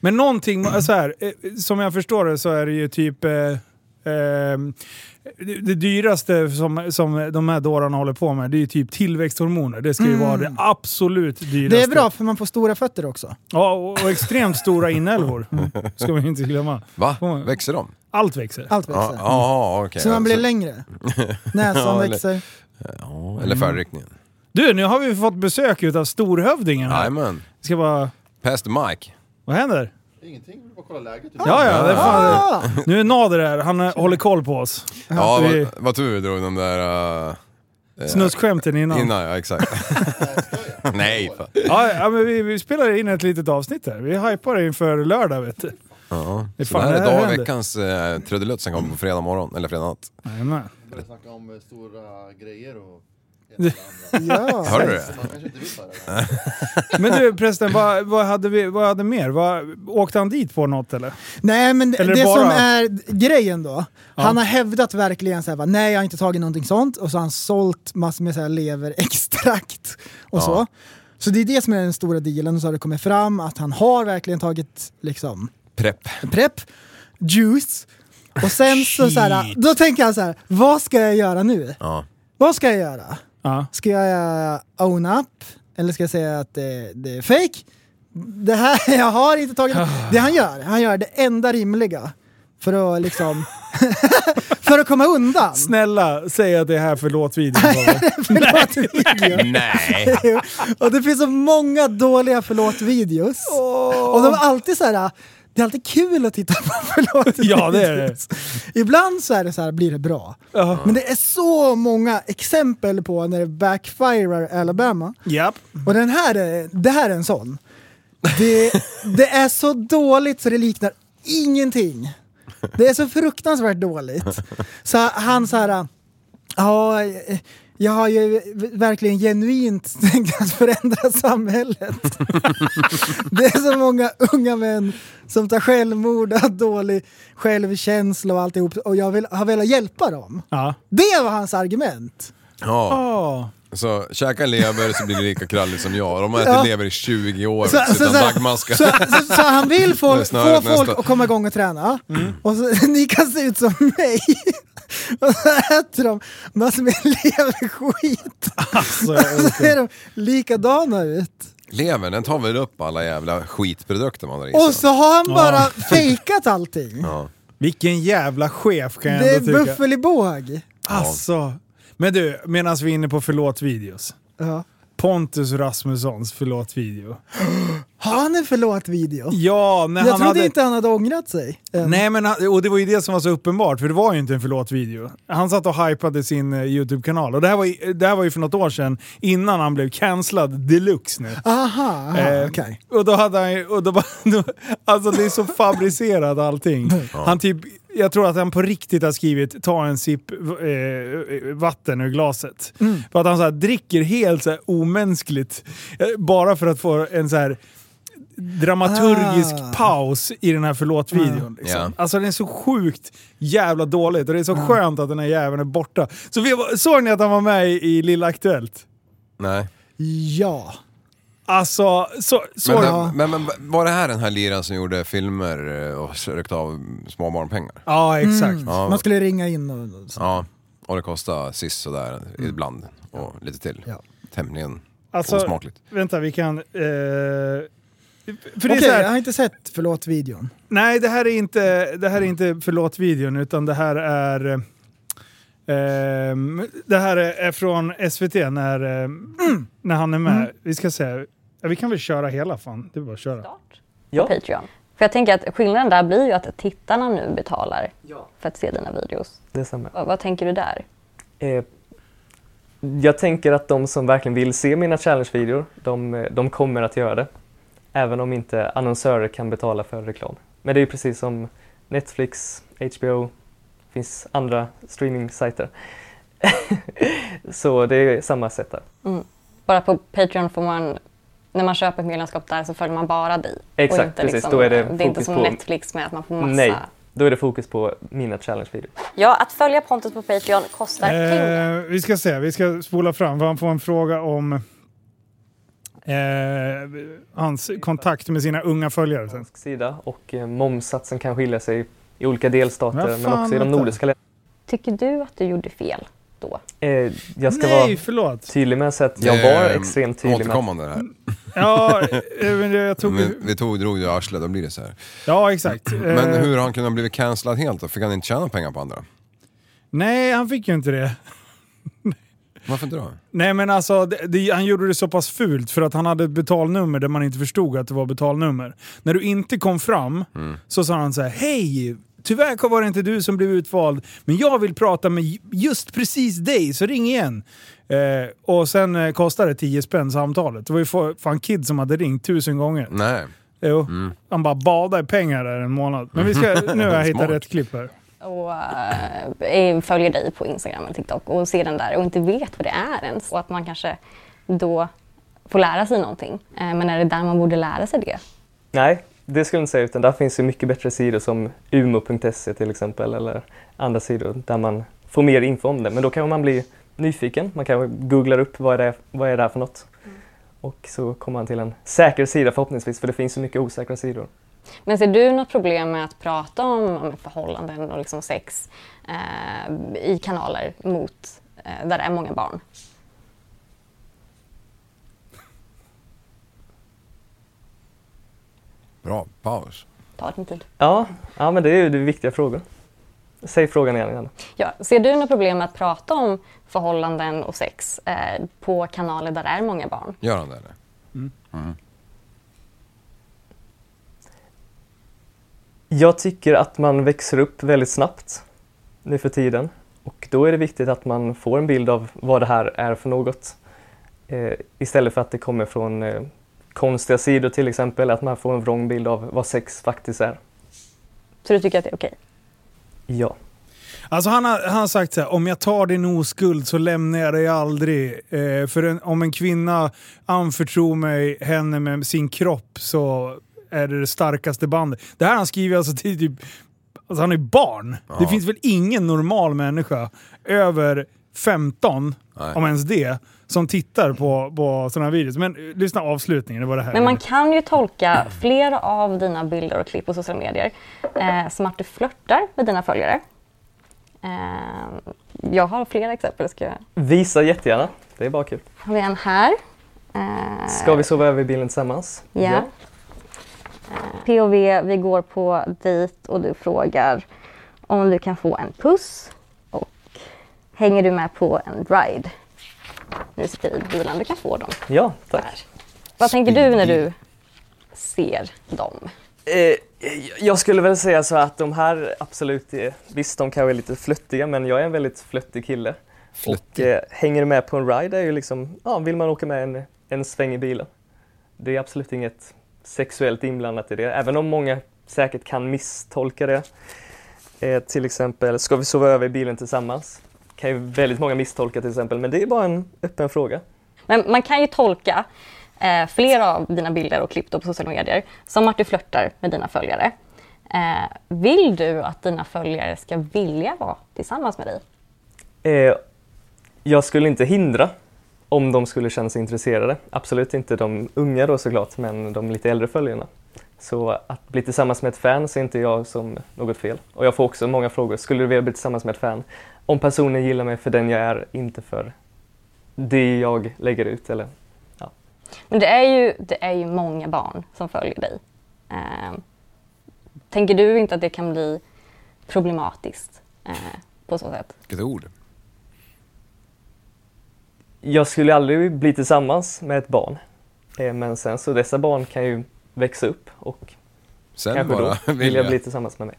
F: Men någonting, så här, eh, som jag förstår det så är det ju typ... Eh, eh, det- det dyraste som, som de här dårarna håller på med det är ju typ tillväxthormoner. Det ska ju vara det absolut dyraste.
G: Mm. Det är bra för man får stora fötter också.
F: Ja, och, och extremt stora inälvor.
G: Mm.
F: Ska man ju inte glömma.
H: Va? Växer de?
F: Allt växer.
G: Allt
H: Ja,
G: växer.
H: ja, okej.
G: Så man blir
H: Alltså,
G: längre. Näsan
H: Ja, eller-
G: växer.
H: ja, Eller färdriktningen.
G: Mm.
F: Du, nu har vi fått besök utav storhövdingen här.
H: Jajamän.
F: Ska bara...
H: Past the mic.
F: Vad händer?
J: Ingenting, vill bara kolla läget.
F: Ja, ja, det är fan...
G: Ah!
F: Nu är Nader här, han eh, håller koll på oss.
H: Ja,
F: vi-
H: vad, vad tur vi drog den där... eh,
F: Snuskskämten innan.
H: Innan, ja exakt. Nej, fan.
F: Ja, ja, men vi, vi spelar in ett litet avsnitt här. Vi hypar inför lördag vet du.
H: Ja.
F: Det är
H: Så
F: fan
H: det här
F: det
H: är
F: här
H: dag
F: händer.
H: veckans eh, trudelutt som kommer på fredag morgon, eller fredag natt.
F: Jajamän.
J: Vi började snacka om eh, stora grejer och ena och det andra.
G: Ja.
H: Hörde du det?
J: Man kanske inte vill höra det.
F: Men du prästen, vad, vad, hade vi, vad hade mer? Vad, åkte han dit på något eller?
G: Nej men det,
F: Eller
G: det
F: bara-
G: som är grejen då. Han har hävdat verkligen såhär, nej jag har inte tagit någonting sånt. Och så har han sålt massor med så här leverextrakt och så. Så det är det som är den stora dealen. Och så har det kommit fram att han har verkligen tagit liksom
H: Prepp.
G: Prep, juice. Och sen så, så här, då tänker han så här, vad ska jag göra nu?
H: Ja.
G: Vad ska jag göra?
F: Ja.
G: Ska jag own up? Eller ska jag säga att det, det är fake? Det här, jag har inte tagit Det han gör, han gör det enda rimliga. För att liksom... för att komma undan.
F: Snälla, säg att det här förlåt videon.
G: Förlåt-video.
H: Nej!
G: och det finns så många dåliga förlåt-videos. Och de är alltid så här... Det är alltid kul att titta på förlåt-videos.
F: Ja, det är det.
G: Ibland så är det så här, blir det bra.
F: Ja.
G: Men det är så många exempel på när det backfirar Alabama.
F: Japp.
G: Och den här, är- det här är en sån. Det, det är så dåligt så det liknar ingenting. Det är så fruktansvärt dåligt. Så han så här, ja, Jag har ju verkligen genuint tänkt att förändra samhället. Det är så många unga män som tar självmord, har dålig självkänsla och alltihop och jag vill, har velat hjälpa dem.
F: Ja.
G: Det var hans argument.
H: Ja.
F: Oh.
H: Så käka en lever så blir du lika krallig som jag. De har ätit
G: Ja.
H: lever i 20 år
G: Så, så,
H: utan
G: så,
H: dagmaskar.
G: så, så, så han vill
H: Det är
G: folk, få
H: snarare
G: folk
H: nästa. Mm.
G: att komma igång och träna. Och så, ni kan se ut som mig. Och så äter de massor med leverskit.
F: Alltså,
G: Och så ser de likadana ut.
H: Levern, den tar väl upp alla jävla skitprodukter man har i
G: Och
H: sig.
G: så har han bara
F: Ja.
G: fejkat allting.
H: Ja.
F: vilken jävla chef kan jag
G: Det är
F: ändå tycka.
G: buffel i båg.
F: Alltså. Men du, medan vi är inne på förlåt-videos.
G: Ja.
F: Pontus Rasmussons förlåt-video.
G: Har han en förlåt-video?
F: Ja, när
G: Jag
F: han
G: trodde
F: hade...
G: inte han hade ångrat sig. än.
F: Nej, men han, och det var ju det som var så uppenbart, för det var ju inte en förlåt-video. Han satt och hypade sin eh, YouTube-kanal. Och det här, var ju, det här var ju för något år sedan, innan han blev cancellad deluxe nu.
G: Aha, aha
F: Eh,
G: Ah, okej.
F: Och då hade han ju- och då, bara- då, Alltså det är så fabricerat allting. Han typ, jag tror att han på riktigt har skrivit ta en sipp eh, vatten ur glaset.
G: Mm.
F: För att han så här, dricker helt så här, omänskligt. eh, Bara för att få en så här dramaturgisk
G: Ah.
F: paus i den här förlåt-videon. Liksom.
H: Ja.
F: Alltså den är så sjukt jävla dåligt och det är
G: Ah.
F: så skönt att den här jäveln är borta. Så vi, var- såg ni att han var med i, i Lilla Aktuellt?
H: Nej.
G: Ja.
F: Alltså, så, så
H: Men,
G: Ja.
H: men, men, men var det här den här liraren som gjorde filmer eh, och sökte av små barnpengar?
F: Ja, exakt.
H: Mm. Ja.
G: Man skulle ringa in och... och så.
H: ja. Och det kostade sist sådär ibland och lite till.
G: Ja.
H: Tämligen
F: Alltså,
H: osmakligt.
F: Vänta, vi kan... Eh, för det
G: Okej,
F: är så här,
G: jag har inte sett förlåt-videon.
F: Nej, det här är inte, det här är inte förlåt-videon, utan det här är... ehm, det här är är från SVT när, ehm, när han är med. Vi ska se. Ja, vi kan väl köra hela fan. Det är bara att köra.
I: på Patreon. För jag tänker att skillnaden där blir ju att tittarna nu betalar för att se dina videos.
K: Det stämmer.
I: Vad, vad tänker du där?
K: Eh, jag tänker att de som verkligen vill se mina challenge-videor, de, eh, de kommer att göra det. Även om inte annonsörer kan betala för reklam. Men det är ju precis som Netflix, HBO, det finns andra streaming-sajter. Så det är samma sätt där.
I: Bara på Patreon får man, när man köper ett medlemskap där så följer man bara dig. Och
K: Exakt,
I: inte liksom
K: precis. Då är det
I: det är inte
K: fokus
I: som
K: på-
I: Netflix med att man får massa...
K: Nej, då är det fokus på mina challenge-videor.
I: Ja, att följa Pontus på Patreon kostar pengar.
F: Eh, vi ska se, vi ska spola fram. för Han får en fråga om eh, hans kontakt med sina unga följare. Sen.
K: Svensk sida och eh, momssatsen kan skilja sig i olika delstater
F: Vad
K: men
F: fan
K: också i de
F: heter
K: nordiska länderna.
I: Tycker du att du gjorde fel då?
K: Eh, jag ska
F: Nej,
K: vara
F: förlåt!
K: tydlig med att säga att jag
H: Det är,
K: var
H: eh,
K: extremt tydlig med att
H: Återkommande det här.
F: Mm. Ja, eh, men jag tog...
H: Vi, vi tog, drog ju arslet, då blir det så här.
F: Ja, exakt.
H: Men
F: Eh,
H: hur har han kunnat bli cancellad helt då? Fick han inte tjäna pengar på andra?
F: Nej, han fick ju inte det.
H: Varför inte då?
F: Nej men alltså, det, det, han gjorde det så pass fult för att han hade ett betalnummer där man inte förstod att det var betalnummer. När du inte kom fram så sa han så här: Hej! Tyvärr var det inte du som blev utvald, men jag vill prata med ju- just precis dig, så ring igen. Eh, och sen eh, kostade det 10 spänn samtalet. Det var ju fa- fan kid som hade ringt tusen gånger.
H: Nej.
F: Jo.
H: Mm.
F: Han bara badade i pengar där en månad. Men vi ska, nu har jag hittat
H: Smart.
F: rätt klipp här.
I: och eh, följer dig på Instagram eller TikTok och ser den där och inte vet vad det är ens. Och att man kanske då får lära sig någonting. Eh, men är det där man borde lära sig det?
K: Nej, det skulle jag inte säga. Utan där finns ju mycket bättre sidor som umo.se till exempel eller andra sidor där man får mer info om det. Men då kanske man blir nyfiken. Man kanske googlar upp vad är det är, vad är det här för något. Och så kommer man till en säker sida förhoppningsvis för det finns så mycket osäkra sidor.
I: Men ser du något problem med att prata om, om förhållanden och liksom sex eh, i kanaler mot, eh, där det är många barn?
H: Bra, paus.
I: Ta din tid.
K: Ja, ja men det är ju det är viktiga frågor. Säg frågan igen. igen.
I: Ja, ser du något problem med att prata om förhållanden och sex eh, på kanaler där det är många barn?
H: Gör han det eller?
K: Jag tycker att man växer upp väldigt snabbt nu för tiden och då är det viktigt att man får en bild av vad det här är för något eh, istället för att det kommer från eh, konstiga sidor till exempel, att man får en vrång bild av vad sex faktiskt är.
I: Så du tycker att det är okej?
K: Ja.
F: Alltså han har, han har sagt så här, om jag tar din oskuld så lämnar jag dig aldrig. Eh, för en, om en kvinna anförtror mig henne med sin kropp så är det det starkaste bandet. Det här han skriver alltså till typ, alltså han är barn. Det finns väl ingen normal människa över 15,
H: Nej.
F: om ens det, som tittar på, på sådana här videos. Men eh, lyssna avslutningen, det var det här.
I: Men man kan ju tolka flera av dina bilder och klipp på sociala medier eh, som att du flörtar med dina följare. Eh, jag har flera exempel. Ska jag...
K: Visa jättegärna, det är bara kul.
I: Har vi en här? Eh,
K: Ska vi sova över i bilen tillsammans?
I: Ja. Eh, POV, vi går på dejt och du frågar om du kan få en puss och hänger du med på en ride? Nu sitter vi i bilen, du kan få dem.
K: Ja, tack.
I: Vad tänker du när du ser dem?
K: Eh, jag skulle väl säga så att de här absolut, är, visst de kanske är lite flöttiga men jag är en väldigt flöttig kille. Och eh, hänger med på en ride är ju liksom, ja vill man åka med en, en sväng i bilen. Det är absolut inget sexuellt inblandat i det, även om många säkert kan misstolka det. Eh, till exempel, ska vi sova över i bilen tillsammans? Kan ju väldigt många misstolka till exempel, men det är bara en öppen fråga.
I: Men man kan ju tolka eh, flera av dina bilder och klipp då på sociala medier som att du flörtar med dina följare. Eh, vill du att dina följare ska vilja vara tillsammans med dig?
K: Eh, jag skulle inte hindra om de skulle känna sig intresserade. Absolut inte de unga då såklart, men de lite äldre följarna. Så att bli tillsammans med ett fan ser inte jag som något fel. Och jag får också många frågor. Skulle du vilja bli tillsammans med ett fan? Om personen gillar mig för den jag är, inte för det jag lägger ut. Eller?
I: Men det är ju, det är ju många barn som följer dig. Eh, tänker du inte att det kan bli problematiskt eh, på så sätt?
H: Vilket ord.
K: Jag skulle aldrig bli tillsammans med ett barn. Eh, men sen så dessa barn kan ju växa upp och
H: Sen
K: kanske
H: bara
K: då
H: vill
K: vill
H: jag.
K: jag bli tillsammans med mig.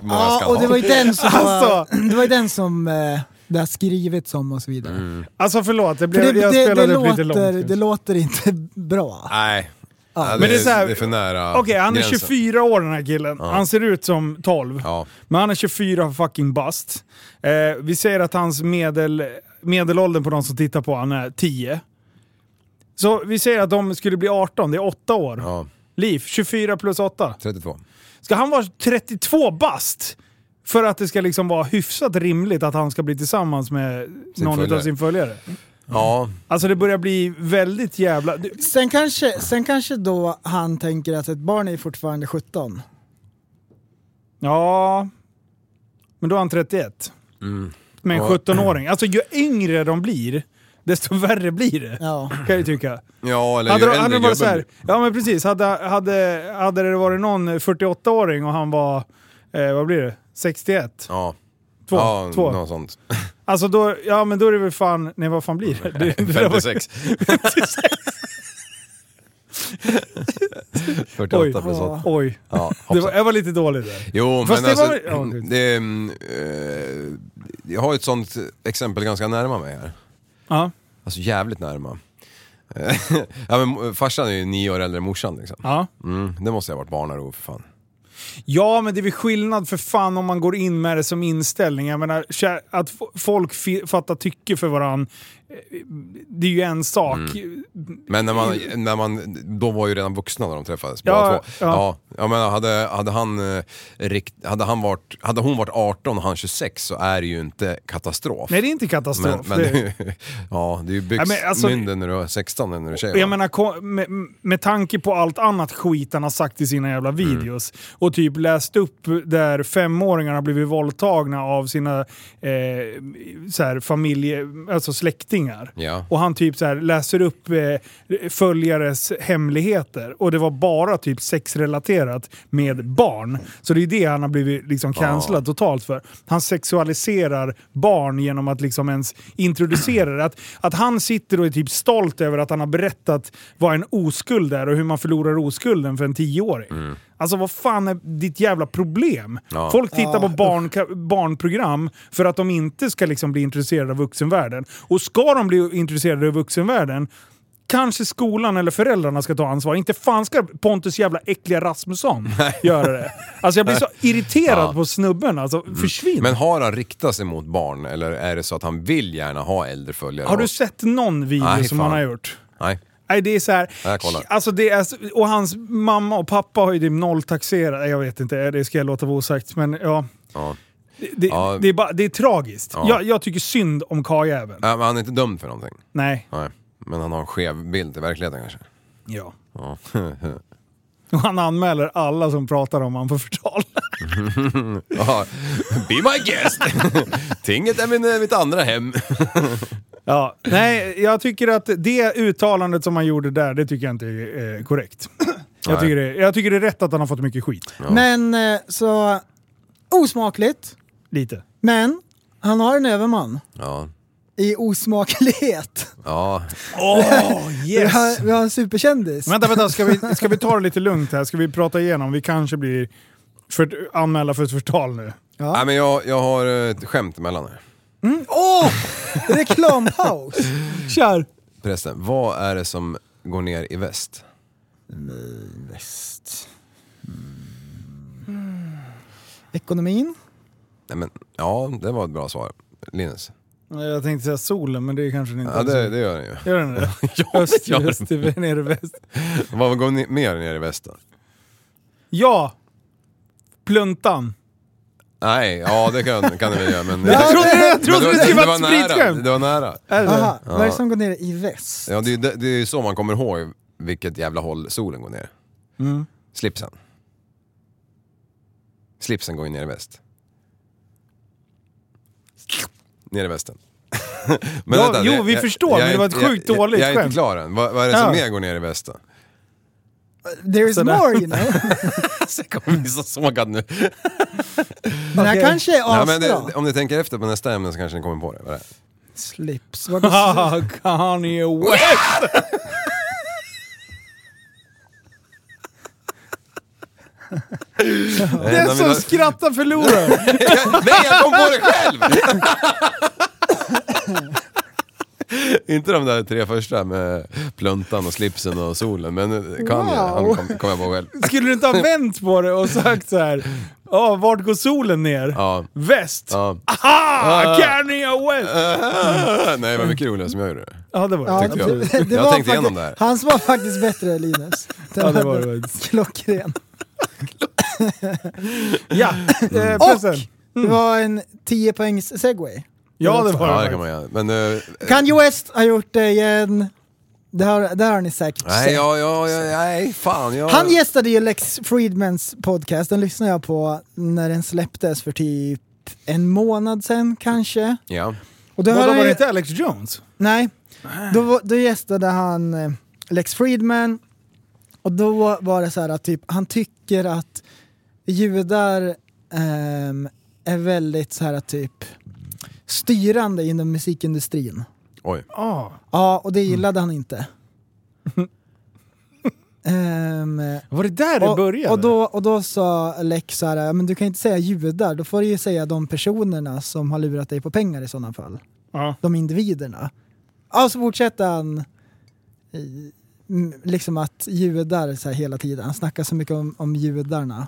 H: Många
G: Ja,
H: ska
G: och
H: ha.
G: det var ju den som,
F: Alltså.
G: det var ju den som eh, det har skrivits om och så vidare.
H: Mm.
F: Alltså förlåt,
G: För
F: det blev,
G: det,
F: jag
G: det, det,
F: spelade upp
G: låter,
F: lite långt.
G: det låter inte bra.
H: Nej. Ja, det,
F: Men det är
H: är
F: så här-
H: det är för nära
F: Okej, han är
H: gränsen.
F: 24 år den här killen. Han ser ut som 12.
H: Ja.
F: Men han är 24 fucking bast. Eh, vi säger att hans medel, medelåldern på de som tittar på han är 10. Så vi säger att de skulle bli 18, det är 8 år.
H: ja,
F: Liv, 24 plus 8.
H: 32.
F: Ska han vara 32 bast? För att det ska liksom vara hyfsat rimligt att han ska bli tillsammans med någon
H: följare.
F: av sin följare.
H: Ja,
F: Alltså det börjar bli väldigt jävla... Du,
G: Sen kanske, sen kanske då han tänker att ett barn är fortfarande 17.
F: Ja, men då är han 31. Med en
H: Mm. Ja.
F: 17-åring. Alltså ju yngre de blir, desto värre blir det.
G: Ja.
F: Kan jag ju tycka.
H: ja eller
F: Hade,
H: ju
F: de- hade
H: äldre
F: det varit så här,
H: gubben.
F: ja men precis, hade, hade, hade det varit någon 48-åring och han var, eh, vad blir det, 61?
H: Ja.
F: Två?
H: ja,
F: två.
H: något sånt.
F: Alltså då, ja men då är det väl fan, nej vad fan blir det? det? det var-
H: 56. 48
F: Oj,
H: plus 8.
F: oj.
H: Ja,
F: Det var, jag var lite dålig där.
H: Jo,
F: Fast
H: men
F: det
H: alltså,
F: var- ja, okej.
H: det, mm, eh, jag har ett sånt exempel ganska närma mig här.
F: Ja.
H: Alltså jävligt närma. ja, men, farsan är ju nio år äldre än morsan liksom.
F: Ja.
H: Mm, det måste jag ha varit barnaro för fan.
F: Ja, men det är väl skillnad för fan om man går in med det som inställning. Jag menar, kä- att f- folk fi- fattar tycke för varann, eh, det är ju en sak.
H: Mm. Men när man, när man, de var ju redan vuxna när de träffades
F: Mm. Ja,
H: båda två.
F: ja.
H: Ja. Ja, men hade, hade, han, eh, rikt, hade, han varit, hade hon varit 18 och han 26 så är det ju inte katastrof.
F: Nej, det är inte katastrof.
H: Men, men,
F: det,
H: ja, det är ju
F: Ja,
H: byx,
F: men alltså-
H: mynden när du är 16 än när du är tjej.
F: och jag
H: va?
F: menar, ko- med, med tanke på allt annat skit han har sagt i sina
H: Mm.
F: jävla videos och typ läst upp där femåringar har blivit våldtagna av sina eh, så här, familje, alltså släktingar.
H: Ja.
F: Och han typ så här läser upp eh, följares hemligheter. Och det var bara typ sexrelaterat med barn. Så det är det han har blivit liksom cancellad totalt för. Han sexualiserar barn genom att liksom ens introducera det. Att, att han sitter och är typ stolt över att han har berättat vad en oskuld är och hur man förlorar oskulden för en tioåring. Alltså vad fan är ditt jävla problem?
H: Ja.
F: Folk tittar på barn, barnprogram för att de inte ska liksom bli intresserade av vuxenvärlden. Och ska de bli intresserade av vuxenvärlden kanske skolan eller föräldrarna ska ta ansvar. Inte fan ska Pontus jävla äckliga Rasmusson göra det. Alltså jag blir så irriterad på snubben. Alltså, försvinn.
H: Men har han riktat sig mot barn eller är det så att han vill gärna ha äldre följare?
F: Har du sett någon video
H: Nej,
F: som
H: fan.
F: han har gjort?
H: Nej.
F: Nej, det är så här.
H: Jag kollar.
F: Alltså det är, och hans mamma och pappa har ju typ nolltaxerat. Nej, Jag vet inte, det ska jag låta vara osagt. Men ja,
H: Ja.
F: det, det,
H: Ja.
F: det, är, bara, det är tragiskt.
H: Ja.
F: Jag, jag tycker synd om karljäveln.
H: Ja, men han är inte dömd för någonting.
F: Nej.
H: Nej. Men han har en skev bild i verkligheten kanske.
F: Ja.
H: Ja.
F: Och han anmäler alla som pratar om han för förtal.
H: Ja, Be my guest! Tinget är min, mitt andra hem.
F: Ja, nej, jag tycker att det uttalandet som han gjorde där, det tycker jag inte är eh, korrekt. Jag
H: Nej.
F: tycker, det, jag tycker det är rätt att han har fått mycket skit.
G: Men eh, så osmakligt.
F: Lite.
G: Men han har en överman
H: Ja.
G: i osmaklighet.
H: Ja.
F: Oh,
G: Vi, har, vi har en superkändis.
F: Vänta, vänta, ska vi, ska vi ta det lite lugnt här? Ska vi prata igenom? Vi kanske blir för, anmälda för ett förtal nu.
G: Ja.
H: Nej, men jag, jag har ett skämt emellan här.
G: Åh! Reklampaus!
F: Kör!
H: Förresten, vad är det som går ner i väst?
G: Väst. Mm. Ekonomin?
H: Nej, men, ja, det var ett bra svar. Linus?
F: Jag tänkte säga solen, men det är kanske den inte
H: Ja, det,
F: är.
H: det gör den ju.
F: Gör den det?
H: Ja,
F: Öst,
H: det gör den.
F: väst, ner och väst.
H: Vad går ni- mer ner i väst då?
F: Ja! Pluntan.
H: Nej, ja det kan, kan det väl göra men...
F: Jag trodde, jag trodde
H: Men
F: det skulle
H: var-
F: vara ett
H: det var nära,
F: spritskämt!
H: Det var nära.
F: Är det?
G: Aha, vad är det som går ner i väst?
H: Ja, det, är ju det, det är ju så man kommer ihåg vilket jävla håll solen går ner.
F: Mm.
H: Slipsen. Slipsen går ju ner i väst. Ner i västen. Men
F: Ja, jo, vi förstår, men
H: är
F: det var ett
H: inte-
F: sjukt
H: jag,
F: dåligt
H: jag, jag är
F: skämt.
H: inte klar än. Vad, vad är det som
F: Ja.
H: mer går ner i väst då?
G: There is
F: Sådär.
G: more you know.
H: Jag kommer bli så sågad nu.
G: Den här
F: Okej.
G: kanske är
H: Nej,
G: asbra.
H: men det, om ni tänker efter på nästa ämne så kanske ni kommer på det. Vad är det?
G: Slips. Vad går
F: Ah, Kanye West! Den
H: Nej,
F: som
H: men-
F: skrattar förlorar!
H: Jag- Nej, jag kom på det själv! Inte de där tre första med pluntan och slipsen och solen, men kan jag, han kom, kom jag på själv.
F: Skulle du inte ha vänt på det och sagt så här. Ja, vart går solen ner?
H: Ja.
F: Väst!
H: Ja.
F: Aha! Kanye West!
H: Ah, Nej, det var mycket roligare som jag gjorde det.
F: Ja, det var det.
G: Ja,
H: Tyckte jag.
G: det- det
H: Jag
G: var
H: tänkte igenom det här.
G: Hans var faktiskt bättre Linus. Den
F: Ja, det var
G: hade-
F: det faktiskt.
G: Klockren.
F: Ja,
H: Mm.
F: eh, pressen.
G: Och det var en 10 poängs segway.
F: Ja, det var
H: Ja,
F: det.
H: det kan man göra. Men, eh,
G: Kanye West har gjort det igen. Det har, det har ni säkert
H: nej,
G: sett.
H: ja, ja, ja, nej, fan. Jag,
G: Han gästade ju Lex Friedmans podcast, den lyssnade jag på när den släpptes för typ en månad sedan kanske.
H: ja.
G: Och då
F: Och
G: hör
F: då
G: han
F: var
G: ju-
F: det inte Alex Jones?
G: Nej, då, var- då gästade han eh, Lex Friedman och då var det så här att typ, han tycker att judar ehm, är väldigt så här typ styrande inom musikindustrin.
H: Oj.
F: Ja.
G: Ja, och det gillade
F: Mm.
G: han inte. Ehm,
F: Var det där det började?
G: och, då, och då sa Lex så här, "Ja, men du kan inte säga judar, då får du ju säga de personerna som har lurat dig på pengar i sådana fall.
F: Ja.
G: De individerna. Ja, så fortsätter han i- m- liksom att judar så här hela tiden, han snackar så mycket om, om judarna.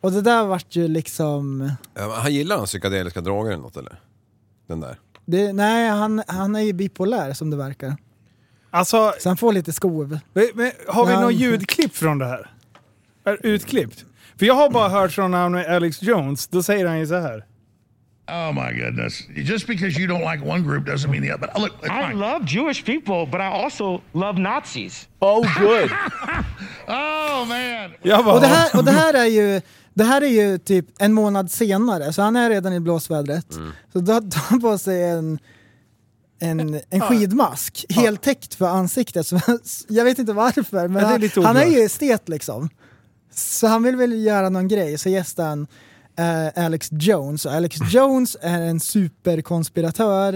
G: Och det där vart ju liksom,
H: Eh, Han gillar den psykedeliska droger eller något eller? Den där.
G: det, nej han, han är ju bipolär som det verkar.
F: Alltså,
G: Så han får lite skov.
F: men- men har vi
G: Nej.
F: något ljudklipp från det här? Är Utklippt? För jag har bara hört från han med Alex Jones, då säger han ju så här.
L: Oh my goodness! Just because you don't like one group doesn't mean the other. But look, I love Jewish people, but I also love Nazis.
F: Oh good!
L: Oh man!
F: jag bara,
G: Och det här, och det här är ju det här är ju typ en månad senare, så han är redan i blåsvädret.
F: Mm.
G: Så då tar han på sig en, en, en skidmask, heltäckt för ansiktet. Så, jag vet inte varför, men
F: Ja, det är
G: han,
F: lite
G: han är
F: oklart.
G: ju estet liksom. Så han vill väl göra någon grej, så gästar han eh, Alex Jones. Och Alex Jones är en superkonspiratör.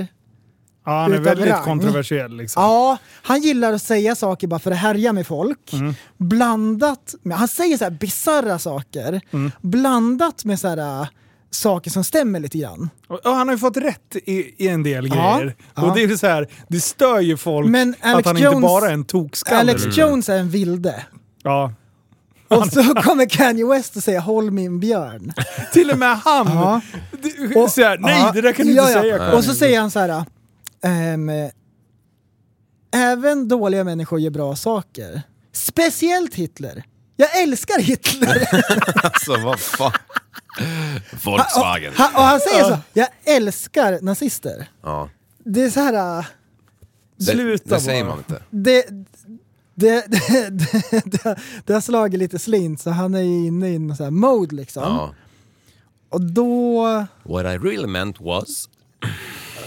F: ja, han är
G: utav
F: väldigt
G: rang.
F: kontroversiell liksom.
G: Ja, han gillar att säga saker bara för att härja med folk.
F: Mm. Mm.
G: Blandat med, han säger så här bisarra saker, blandat med så här saker som stämmer lite grann.
F: Och, och han har ju fått rätt i, i en del
G: Ja,
F: grejer.
G: ja.
F: Och det är ju så här, det stör ju folk
G: Men
F: att
G: Alex
F: han
G: Jones-
F: inte bara är en tokskalle.
G: Alex Jones är en vilde.
F: Ja.
G: Och så kommer Kanye West och säger “Håll min björn”.
F: Till och med han!
G: Och,
F: så här, "Nej, det där kan du inte säga, Kanye."
G: Och så säger han så här. ehm, Även dåliga människor gör bra saker. Speciellt Hitler. Jag älskar Hitler!
M: alltså vad fan. Volkswagen.
G: Han- och han säger så. Jag älskar nazister.
M: Ja.
G: Det är så här. äh,
H: Det- Sluta det säger bara. man inte.
G: Det, det, det, det, det, det har slagit lite slint så han är ju inne i någon så här mode liksom.
M: Ja.
G: Och då...
M: What I really meant was...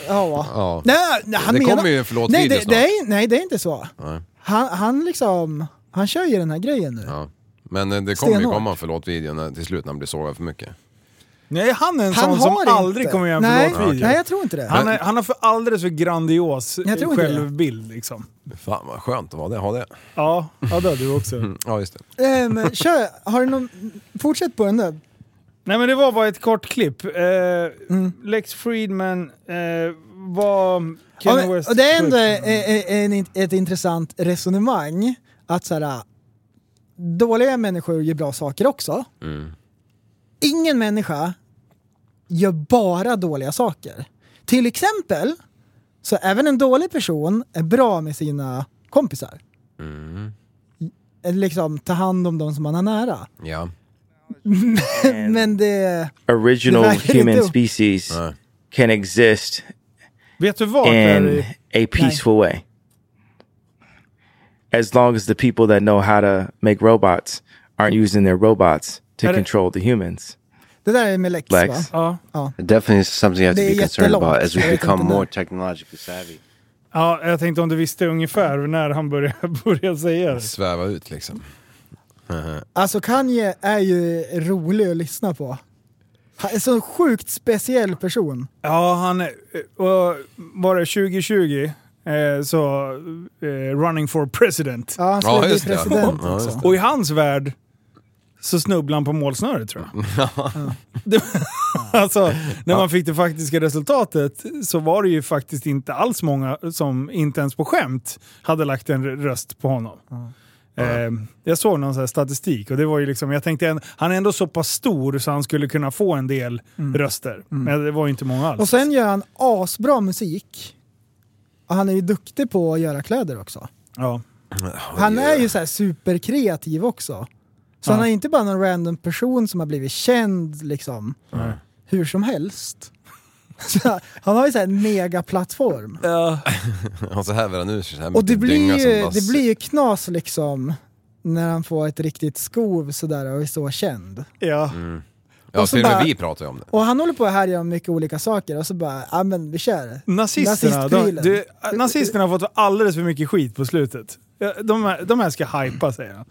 G: Ja.
M: Ja.
G: Nej, nej, han
M: Det
G: menar,
M: kommer ju en förlåt
G: nej,
M: video
G: det,
M: snart.
G: det är, nej, det är inte så.
H: Nej.
G: Han, han liksom... Han kör ju den här grejen nu.
H: Ja. Men eh, det kommer ju
G: Stenhårt.
H: komma en förlåt-video när- till slut när han blir sågad för mycket.
F: Nej, han är en
G: Han
F: sån
G: har
F: som
G: inte.
F: aldrig kommer göra en
G: Nej,
F: förlåt-video.
G: nej, jag tror inte det.
F: Han,
G: Men-
F: är, han har för alldeles för grandios
G: Jag tror inte det.
F: självbild liksom.
H: Fan vad skönt att vara det, ha det.
F: Ja, ja det har du också.
H: Mm, Ja just det.
G: Ehm, kör, har du någon... Fortsätt på den där.
F: Nej men det var bara ett kort klipp. Eh,
G: Mm.
F: Lex Friedman eh, var
G: Ja,
F: Kanye
G: men,
F: West
G: och det är ändå e-
F: sjuk.
G: en, en, ett intressant resonemang att så här, ah, dåliga människor gör bra saker också.
N: Mm.
G: Ingen människa gör bara dåliga saker. Till exempel, så även en dålig person är bra med sina kompisar.
N: Mm.
G: Eller Liksom, ta hand om dem som man har nära.
H: Ja.
F: Mm.
G: Men det...
O: original
G: Det verkar
O: human
G: inte-
O: species can exist
F: Vet du vad?
O: in
F: Perry?
O: a peaceful way. As long as the people that know how to make robots aren't using their robots to
G: Perry.
O: control the humans.
G: Det där är med Lex,
O: Lex.
G: va? Ja. Ja.
N: Definitely something you have to
G: Det är
N: be concerned
G: jättelångt.
N: about as we
G: Jag vet
N: become
G: inte när.
N: more technologically savvy.
F: Ja, jag tänkte om du visste ungefär när han började, började säga det.
H: Sväva ut liksom.
G: Alltså Kanye är ju rolig att lyssna på. Han är en så sjukt speciell person.
F: Ja, han... eh, och Var det 2020? Eh, så eh, running for president.
G: Ja,
H: han skulle Ja, bli just det. president Ja, också. just det.
F: Och i hans värld så snubblade han på målsnöret tror jag. Det, alltså, när man fick det faktiska resultatet så var det ju faktiskt inte alls många som inte ens på skämt hade lagt en röst på honom. Eh, jag såg någon så här statistik och det var ju liksom, jag tänkte en, han är ändå så pass stor så han skulle kunna få en del röster. Men det var ju inte många alls.
G: Mm. Och sen gör han asbra musik. Och han är ju duktig på att göra kläder också.
F: ja.
G: Han är ju så här superkreativ också. Så
F: Ja.
G: han är inte bara någon random person som har blivit känd liksom
F: Nej.
G: hur som helst. Så han har ju så här en megaplattform.
H: och så häver han ur sig så här
G: Och det
H: mycket dynga
G: blir,
H: som
G: ju,
H: bara-
G: det blir ju knas liksom när han får ett riktigt skov sådär och är så känd.
F: Ja.
H: Mm. Ja,
G: Och så
H: till och med
G: bara-
H: vi pratar ju om det.
G: Och han håller på här gör mycket olika saker och så bara, ja men vi kör.
F: Nazisterna, de,
G: Nazistprylen.
F: du, nazisterna har fått alldeles för mycket skit på slutet. Ja, De, här- de här ska hypa säger han.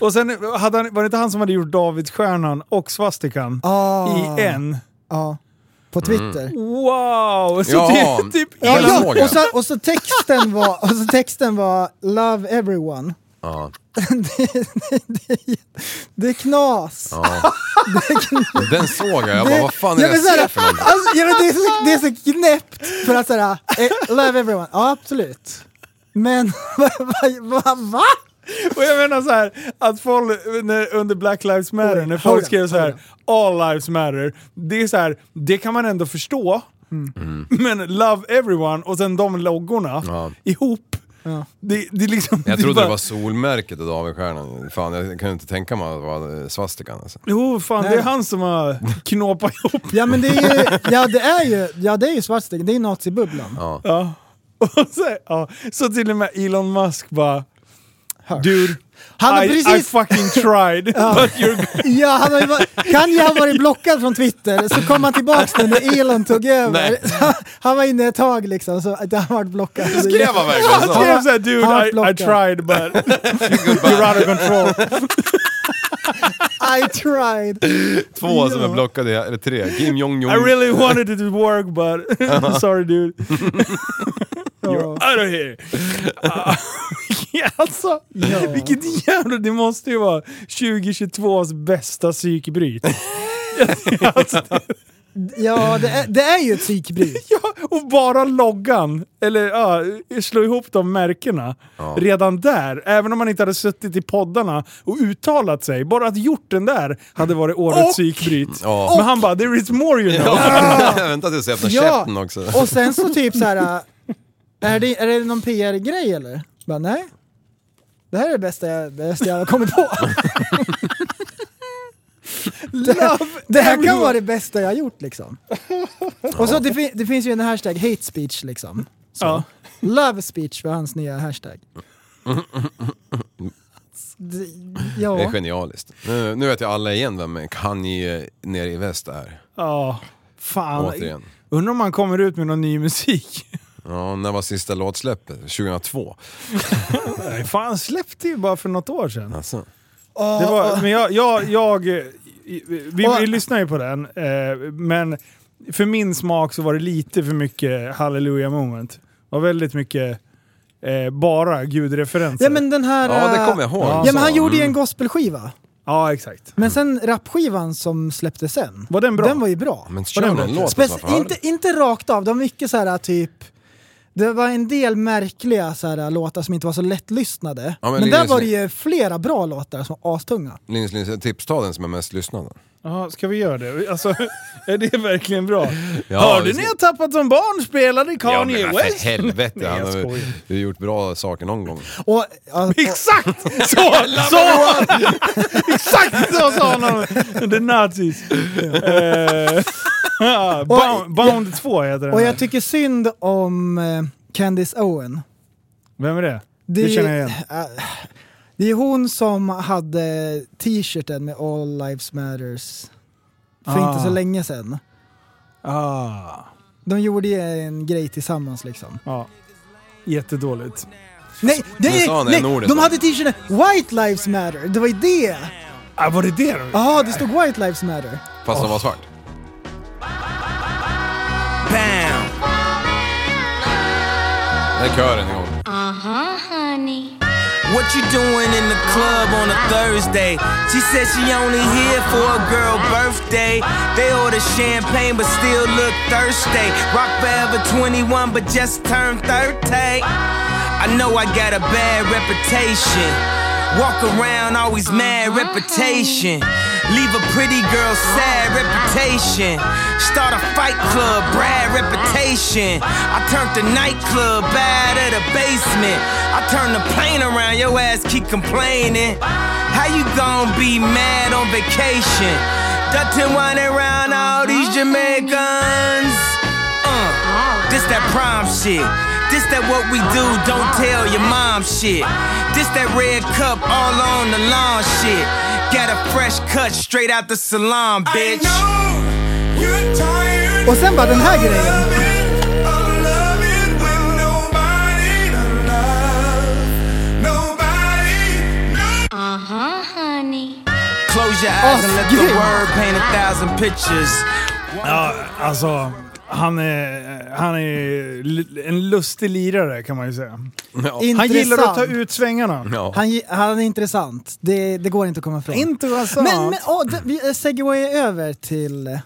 F: Och sen hade han, var det inte han som hade gjort Davidsstjärnan och svastikan
G: Ah.
F: i en?
G: Ja.
H: Mm.
G: På Twitter.
F: Wow! Så
G: Ja.
F: det är typ
G: Ja,
F: hela
G: ja.
F: frågan.
G: Och, så, och, så texten var, och så texten var “Love everyone”.
H: Ja.
G: Det är knas.
H: ja. Den såg jag, jag bara vad fan är det
G: men
H: jag
G: så här,
H: ser för någonting?
G: alltså, ja, men det, är så, det är så knäppt för att såhär, eh, “Love everyone”, ja absolut. Men vad? Va, va, va?
F: Och jag menar så här, att folk när, under Black Lives Matter, när folk skrev så här “All Lives Matter”, det är så här, det kan man ändå förstå.
G: Mm.
H: Mm.
F: Men “Love Everyone” och sen de loggorna ihop, det, det är liksom...
H: Jag
F: det är
H: trodde det
F: bara-
H: var solmärket och Davidsstjärnan. Fan, jag kunde inte tänka mig att det var svastikan. Alltså.
F: Jo, fan
G: Nej.
F: det är han som har knåpat ihop.
G: Ja men det är ju, ja det är ju, ja det är ju svartstegen, det är ju nazibubblan.
H: Ja.
F: Ja. Och så, ja. så till och med Elon Musk bara... Dude,
G: Han har
F: I,
G: precis-
F: I fucking tried.
G: Ja.
F: But you're...
G: Ja, han har ju varit, Kanye har varit blockad från Twitter, så kom han tillbaks nu när Elon tog över.
F: Nej.
G: Han var inne ett tag liksom, så att han varit blockad.
F: Skrev han verkligen så? Han skrev såhär, dude,
G: har
F: I- I
G: blockat.
F: tried, but you're out of control.
G: I tried.
H: Två som är blockade, eller tre. Kim Jong-Jong.
F: I really wanted it to work, but sorry dude. Uh-huh. You're out of here! Ah, alltså, vilket jävla... Det måste ju vara 2022s bästa psykbryt. Alltså,
G: Ja, det är, det är ju ett psykbryt.
F: ja, och bara loggan, eller ja, slå ihop de märkena. Redan där, även om man inte hade suttit i poddarna och uttalat sig, bara att gjort den där hade varit årets
H: Och-
F: psykbryt.
H: Ja.
F: Men han bara “there is more you know”.
H: Ja, vänta tills jag öppnar käften också.
G: och sen så typ så här. Är det, är det någon PR-grej eller? Bara, nej. Det här är det bästa jag, det bästa jag har kommit på. det, det här kan vara det bästa jag har gjort liksom. Och så det, fin- det finns ju en hashtag hate speech liksom. Så. Love speech var hans nya hashtag. Det,
H: Det är
G: ja.
H: genialiskt. Nu, nu vet jag alla igen vem Kanye nere eh, i väst är.
F: Ja, fan.
H: Återigen.
F: Undrar om han kommer ut med någon ny musik.
H: Ja, när var sista låtsläppet? 2002?
F: Nej, fan, han släppte ju bara för något år sedan.
H: Alltså.
F: Det var, men jag, jag, jag, eh, vi,
G: Och-
F: vi lyssnar ju på den, eh, men för min smak så var det lite för mycket hallelujah moment. Det var väldigt mycket eh, bara gudreferenser.
G: ja men den här...
F: Ja, det kommer jag
G: eh,
F: ihåg.
G: Ja men han
F: Mm.
G: gjorde ju en gospelskiva.
F: Ja, exakt.
G: Men sen rapskivan som släpptes sen. Var
F: den bra?
G: Den var ju bra.
H: Men
G: Var
H: kör
G: den
H: den
G: bra?
H: låten
G: Spec-
H: så man får höra
G: inte, inte rakt av, det var mycket så här typ... Det var en del märkliga så här, äh, låtar som inte var så lättlyssnade.
H: Ja, men
G: men
H: det är
G: där
H: ju så-
G: var det ju flera bra låtar som var astunga.
H: Linus, Linus, tipsa ta den som är mest lyssnad.
F: Jaha, ska vi göra det? Alltså, är det verkligen bra?
H: Ja,
F: Hörde
H: vi
F: ni
H: ska-
F: att Tappat som barn spelade Kanye
H: ja, men vad för
F: West?
H: helvete,
F: Nej,
H: han
F: jag
H: har ju-
F: skojar.
H: ju gjort bra saker någon gång.
G: Och, ja, och,
F: Exakt! Så! så! Exakt så sa han! The Nazis. Eh, ja, Bound- Bound 2 heter den.
G: och
F: här.
G: jag tycker synd om eh, Candice Owen.
F: Vem är det?
G: Det
F: Det,
G: är ju- äh,
F: känner jag igen.
G: Det är hon som hade t-shirten med All Lives Matters för
F: Ah.
G: inte så länge sedan.
F: Ah,
G: De gjorde ju en grej tillsammans liksom.
F: ja. Jättedåligt.
G: Nej, det
F: Nu sa
G: är,
F: han en
G: nej
F: orden
G: de
F: så.
G: hade t-shirten White Lives Matter, det var ju det!
F: Ah, var det det då?
G: Jaha, det stod White Lives Matter.
H: Fast han var svart. Det är kören igång.
P: Uh-huh, honey.
Q: What you doing in the club on a Thursday? She said she only here for a girl birthday. They order champagne but still look thirsty. Rock forever 21 but just turned 30. I know I got a bad reputation. Walk around always mad reputation. Leave a pretty girl sad reputation. Start a fight club, Brad reputation. I turned the nightclub bad at the basement. I turned the plane around, your ass keep complaining. How you gon' be mad on vacation? Dutton winding around all these Jamaicans. Uh, this that prom shit. This that what we do, don't tell your mom shit. This that red cup all on the lawn shit. Got a fresh cut straight out the salon, bitch.
G: Och sen bara den här grejen.
P: Uh-huh, honey.
Q: Close your eyes and let the word paint a thousand pictures.
F: Ja, alltså, han är, han är l- en lustig lirare kan man ju säga. Han gillar att ta ut svängarna.
G: Han, gi- han är intressant, det, det går inte att komma ifrån.
F: Intressant.
G: Men, men åh, det, vi eh, segwayar över till, eh,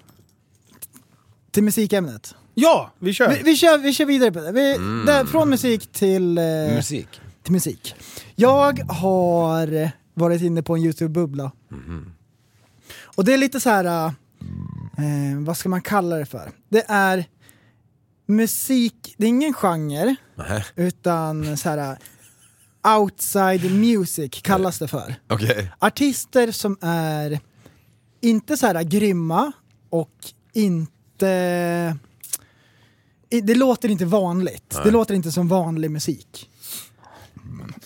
G: till musikämnet.
F: Ja, vi kör.
G: Vi, vi, kör, vi kör vidare på det. Vi,
F: Mm.
G: där, från musik till... eh,
F: Musik.
G: Till musik. Jag har varit inne på en YouTube-bubbla.
F: Mhm.
G: Och det är lite så här... eh, vad ska man kalla det för? Det är musik, det är ingen genre,
H: Nähä.
G: utan så här... eh, Outside music kallas det för.
H: Okej.
G: Artister som är inte så här grymma och inte... i- Det låter inte vanligt. Det
R: Nej.
G: låter inte som vanlig musik.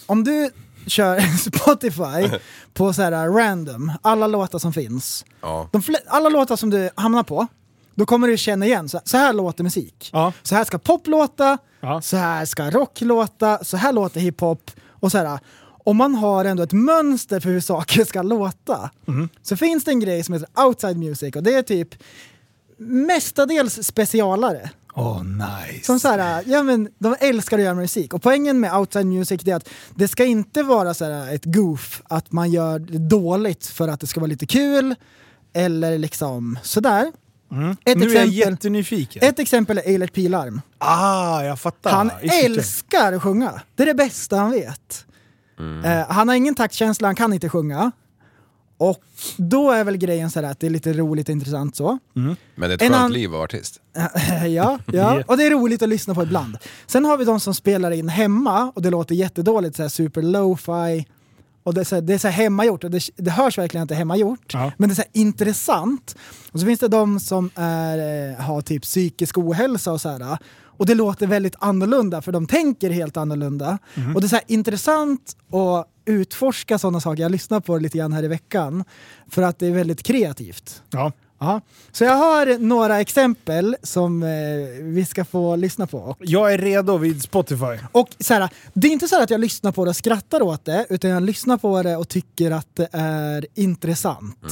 G: Om du kör Spotify på så här random, alla låtar som finns.
H: Ja.
G: De fle- alla låtar som du hamnar på, då kommer du känna igen, så, så här låter musik. Så här ska pop låta, så här ska rock låta, så här låter hiphop och så här. Om man har ändå ett mönster för hur saker ska låta
F: Mhm.
G: så finns det en grej som heter outside music och det är typ mestadels specialare.
F: Åh, nice.
G: Som så här, ja men de älskar att göra musik och poängen med outside music det är att det ska inte vara så här ett goof, att man gör det dåligt för att det ska vara lite kul eller liksom sådär.
F: Mhm. Nu är jag jättenyfiken.
G: Ett exempel är Eilert Pilarm.
F: Ah, jag fattar.
G: Han
F: I sitter.
G: älskar att sjunga. Det är det bästa han vet. Eh, han har ingen taktkänsla, han kan inte sjunga. Och då är väl grejen så här att det är lite roligt och intressant så.
H: Men det är ett
G: En
H: skönt
G: an-
H: liv att vara artist.
G: ja, ja, och det är roligt att lyssna på ibland. Sen har vi de som spelar in hemma och det låter jättedåligt, så här super lo-fi. Och det är så här, det är så här hemmagjort och det, det hörs verkligen att det är hemmagjort. Men det är så här intressant. Och så finns det de som är, eh, har typ psykisk ohälsa och så här. Och det låter väldigt annorlunda för de tänker helt annorlunda.
R: Mhm.
G: Och det är så här intressant att utforska sådana saker. Jag lyssnar på det lite grann här i veckan. För att det är väldigt kreativt.
F: Ja.
G: Ja, så jag har några exempel som eh, vi ska få lyssna på. Och,
F: Jag är redo vid Spotify.
G: och så här, det är inte så här att jag lyssnar på det och skrattar åt det, utan jag lyssnar på det och tycker att det är intressant.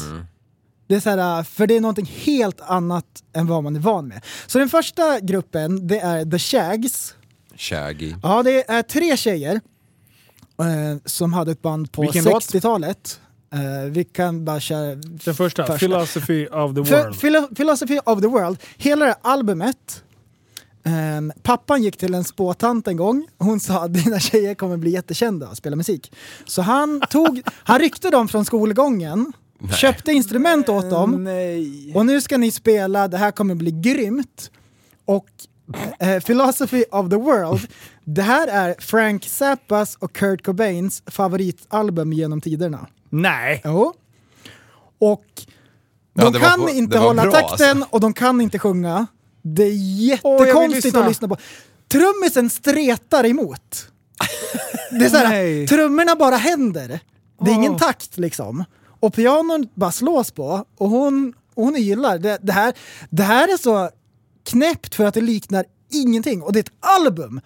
G: Det är så här, för det är någonting helt annat än vad man är van med. Så den första gruppen, det är The Shags.
H: Shaggy.
G: Ja, det är tre tjejer eh, som hade ett band på
F: Vilken låt?
G: 60-talet. Eh, vi kan bara köra...
F: Den första,
G: Första.
F: Philosophy of the
G: Ph-
F: World.
G: Philo- Philosophy of the World, hela det här albumet. ehm, pappan gick till en spåtant en gång. Hon sa att dina tjejer kommer bli jättekända och spela musik. Så han, tog, han ryckte dem från skolgången, köpte instrument åt dem. Och nu ska ni spela, det här kommer bli grymt. Och eh, Philosophy of the World, det här är Frank Zappas och Kurt Cobains favoritalbum genom tiderna.
F: Nej!
G: Jo. Och
F: Ja,
G: de
F: det var
G: kan
F: på-
G: inte
F: det var
G: hålla
F: bra,
G: takten
F: alltså.
G: och de kan inte sjunga. Det är
F: Åh, jag vill
G: jättekonstigt
F: lyssna.
G: att lyssna på. Trummisen stretar emot. Det är så här, trummorna bara händer. Det är ingen takt liksom. Och pianon bara slås på och hon, och hon gillar det. Det här, det här är så knäppt för att det liknar ingenting och det är ett album.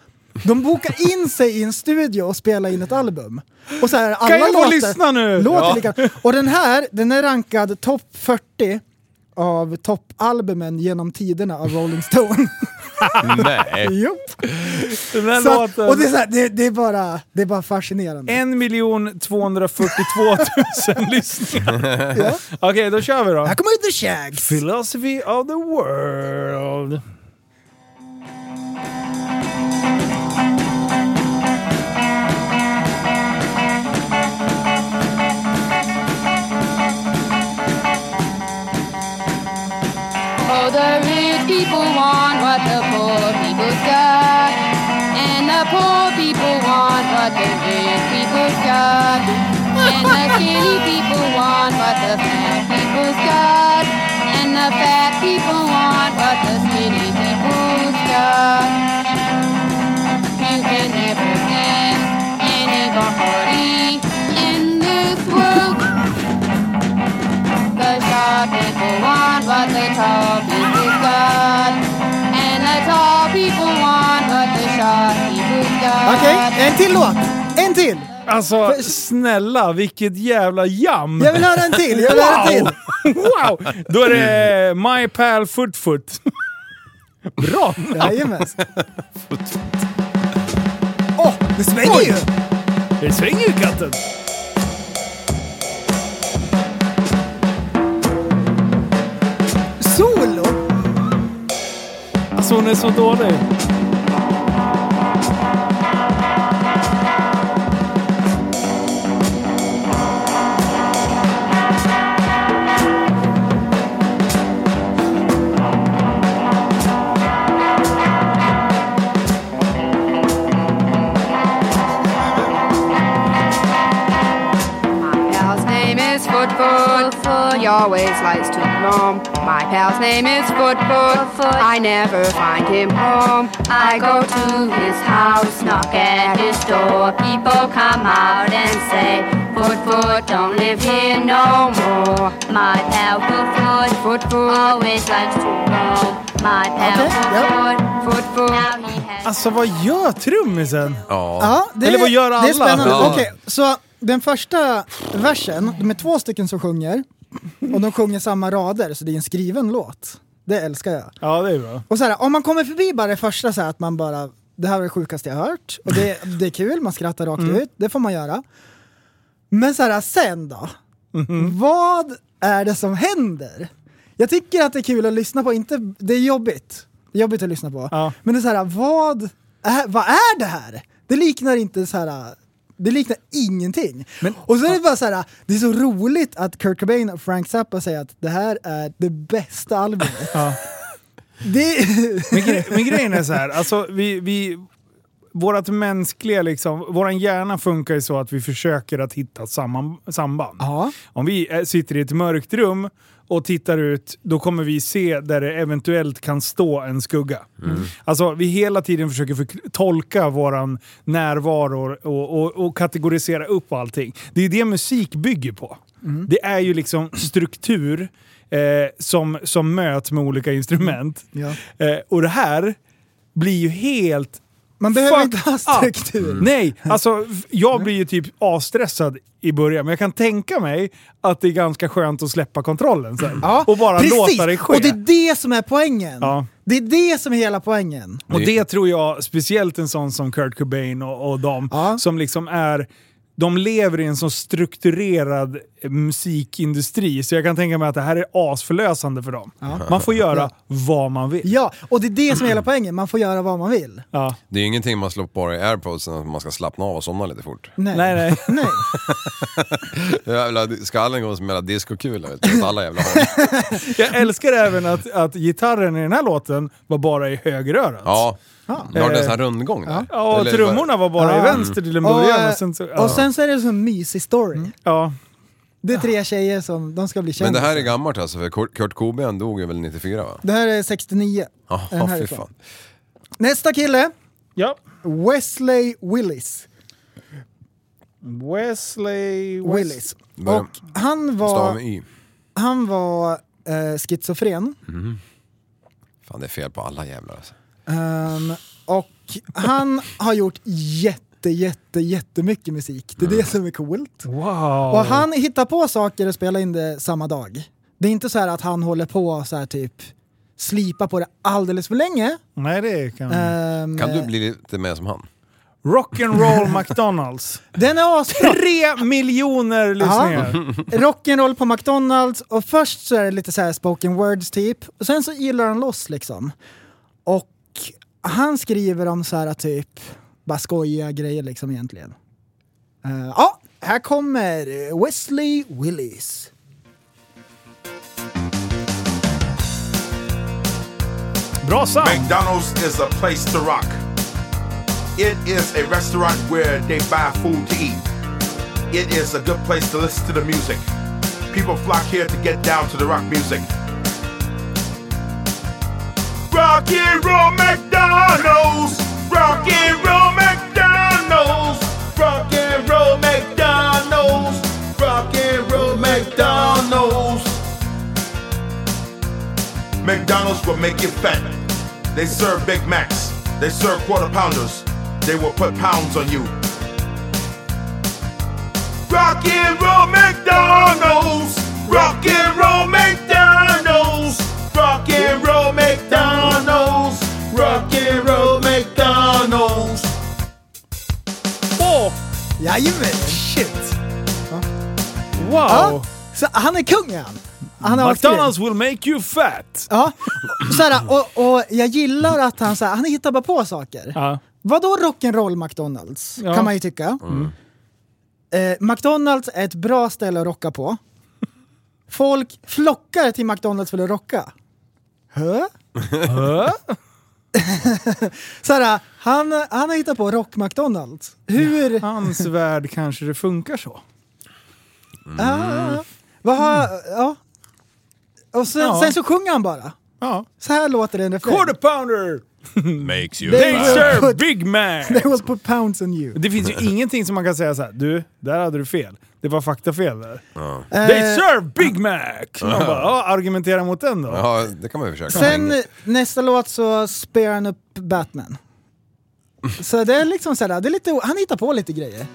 G: De bokar in sig i en studio och spelar in ett album. Och så här, alla
F: jag få
G: låtar,
F: lyssna nu?
G: Låter
F: Ja.
G: lika. Och den här, den är rankad topp 40 av toppalbumen genom tiderna av Rolling Stone.
F: Nej.
G: jo.
F: Den där
G: Så,
F: låten.
G: och det är, så här, det, det, är bara, det är bara fascinerande.
F: 1 242 000 lyssningar.
G: Ja.
F: Okej, då kör vi då. Här
G: kommer The Shags.
F: Philosophy of the World.
S: Oh, the rich people want what the poor people's got. And the poor people want what the rich people's got. And the skinny people want what the fat people's got. And the fat people want what the skinny people's got. You can never get inequality in this world. The short people want what the tall people got. And the tall people want what the short people got.
G: Okej, en till låt! En till!
F: Alltså snälla, vilket jävla jam!
G: Jag vill höra en till, jag vill höra en
F: Wow! wow! Då är det My Pal Footfoot. Bra
G: Jajamän. Åh, det svänger ju!
F: Det svänger ju katten!
G: Solo!
F: Alltså hon är så dålig.
S: My pal's name is Footfoot. He always likes to roam. My pal's name is Footfoot. I never find him home. I go to his house, knock at his door. People come out and say, Footfoot, don't live here no more. My pal Footfoot, Footfoot always likes to roam. My pal Footfoot, Footfoot. Now he has
F: Alltså vad gör trummisen?
G: Ja, det,
F: Eller vad gör alla?
G: Det är spännande.
F: Ja.
G: Okej, så den första versen, de är två stycken som sjunger och de sjunger samma rader så det är en skriven låt. Det älskar jag.
F: Ja, det är bra.
G: Och så här, om man kommer förbi bara det första så här att man bara, det här var det sjukaste jag hört. Och det, det är kul, man skrattar rakt
F: Mm.
G: ut, det får man göra. Men så här, sen då? Vad är det som händer? Jag tycker att det är kul att lyssna på, inte, det är jobbigt. Det är jobbigt att lyssna på. Men det är så här, vad är, vad är det här? Det liknar inte så här... Det liknar ingenting. och så är det bara så här, det är så roligt att Kurt Cobain och Frank Zappa säger att det här är det bästa albumet. Det...
F: Men, gre- men grejen är så här, alltså vi... vi vårat mänskliga liksom, våran hjärna funkar ju så att vi försöker att hitta samman, samband. Om vi eh, sitter i ett mörkt rum och tittar ut, då kommer vi se där det eventuellt kan stå en skugga.
R: Mm.
F: Alltså vi hela tiden försöker förk- tolka våran närvaro och, och, och kategorisera upp allting. Det är ju det musik bygger på. Det är ju liksom struktur eh, som, som möts med olika instrument.
G: Ja.
F: Eh, och det här blir ju helt...
G: Man behöver
F: fucked
G: inte ha
F: up.
G: struktur. Mm.
F: Nej, alltså f- jag blir ju typ avstressad i början, men jag kan tänka mig att det är ganska skönt att släppa kontrollen sen. och bara låta det ske.
G: Och det är det som är poängen.
F: Ja.
G: Det är det som är hela poängen.
F: Och det tror jag, speciellt en sån som Kurt Cobain och, och dem, som liksom är... De lever i en så strukturerad eh, musikindustri, så jag kan tänka mig att det här är asförlösande för dem. Man får göra
G: Ja.
F: vad man vill.
G: Ja, och det är det som är hela poängen. Man får göra vad man vill.
H: Det är ju ingenting man slår på i airpodsen att man ska slappna av och somna lite fort.
G: Nej. Nej,
F: nej.
H: Jävla, skallen går som en jävla discokula vet du, åt alla jävla håll.
F: Jag älskar även att, att gitarren i den här låten var bara i högerörat.
H: Ja. Det har
F: Eh,
H: den sån här rundgång där?
F: Ja, och
H: Eller-
F: trummorna var bara i
H: Ja.
F: vänster till en
H: Mm.
F: början.
G: Ah. eh,
F: Och sen så, ja. Mm.
G: Och sen så är det en sån mysig story.
F: Ja.
G: Det är tre tjejer som de ska bli
H: Men det
G: kändisar.
H: här är gammalt alltså, för Kurt- Kurt Cobain dog ju väl 94 va?
G: Det här är 69.
H: Ja,
G: Den
H: fy
G: härifrån.
H: fan.
G: Nästa kille.
F: Ja.
G: Wesley Willis.
F: Wesley
G: Willis. Och han
H: Stav
G: var,
H: med Y.
G: han var eh, schizofren.
H: Mm. Fan det är fel på alla jävlar alltså.
G: Ehm, och han har gjort jätte, jätte, jättemycket musik. Det är det som är coolt.
F: Wow.
G: Och han hittar på saker och spelar in det samma dag. Det är inte så här att han håller på så här typ slipa på det alldeles för länge.
F: Nej, det kan...
G: Ehm,
H: Kan du bli lite mer som han?
F: Rock'n'roll McDonalds.
G: Den är asbra!
F: Tre miljoner lyssningar.
G: Rock'n'roll på McDonalds och först så är det lite så här spoken words typ. Och sen så gillar han loss liksom. Och han skriver om så här typ bara skojiga grejer liksom egentligen. Eh, Ja, här kommer Wesley Willis.
T: McDonald's is a place to rock. It is a restaurant where they buy food to eat. It is a good place to listen to the music. People flock here to get down to the rock music. Rock and roll McDonald's. Rock and roll McDonald's. Rock and roll McDonald's. Rock and roll McDonald's. McDonald's will make you fat. They serve Big Macs. They serve quarter pounders. They will put pounds on you. Rock and roll McDonald's. Rock and roll McDonald's. Rock and roll McDonald's. Rock and roll McDonald's.
F: Åh!
G: Jajamän! Shit!
F: Wow!
G: Ja, så han är kung är han. han har
F: McDonalds will make you fat!
G: Ja, så här, och, och jag gillar att han, så här, han hittar bara på saker.
F: Ja.
G: Vadå rock'n'roll McDonalds?
F: Ja.
G: Kan man ju tycka.
F: Mm.
G: Eh, McDonalds är ett bra ställe att rocka på. Folk flockar till McDonalds för att rocka. Hö? Så här, han, han har hittat på rock-McDonalds. Hur?
F: Hans värld kanske det funkar så.
G: Ah, vad har, ja. Och sen,
F: Ja.
G: sen så sjunger han bara. Så här låter det i en refräng.
F: Quarter pounder!
M: Makes you
F: They
M: fat.
F: serve Big Mac!
G: They will put pounds on you.
F: Det finns ju ingenting som man kan säga så här. du, där hade du fel. Det var faktafel där.
G: Eh.
F: They serve Big Mac! Man bara, ja, argumentera mot den då.
H: Ja, det kan man ju försöka.
G: Sen nästa låt så spelar han upp Batman.
H: Mm.
G: Så det är liksom såhär, det är lite, han hittar på lite grejer.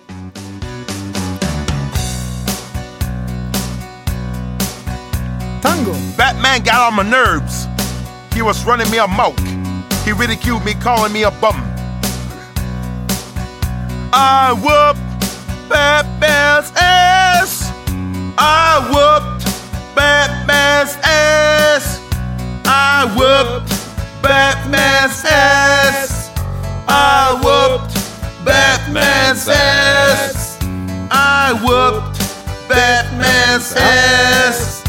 G: Tango.
T: Batman got on my nerves. He was running me a amok. He ridiculed me, calling me a bum. I whooped Batman's ass. I whooped
L: Batman's ass. I whooped Batman's ass. I whooped Batman's ass. I whooped Batman's ass.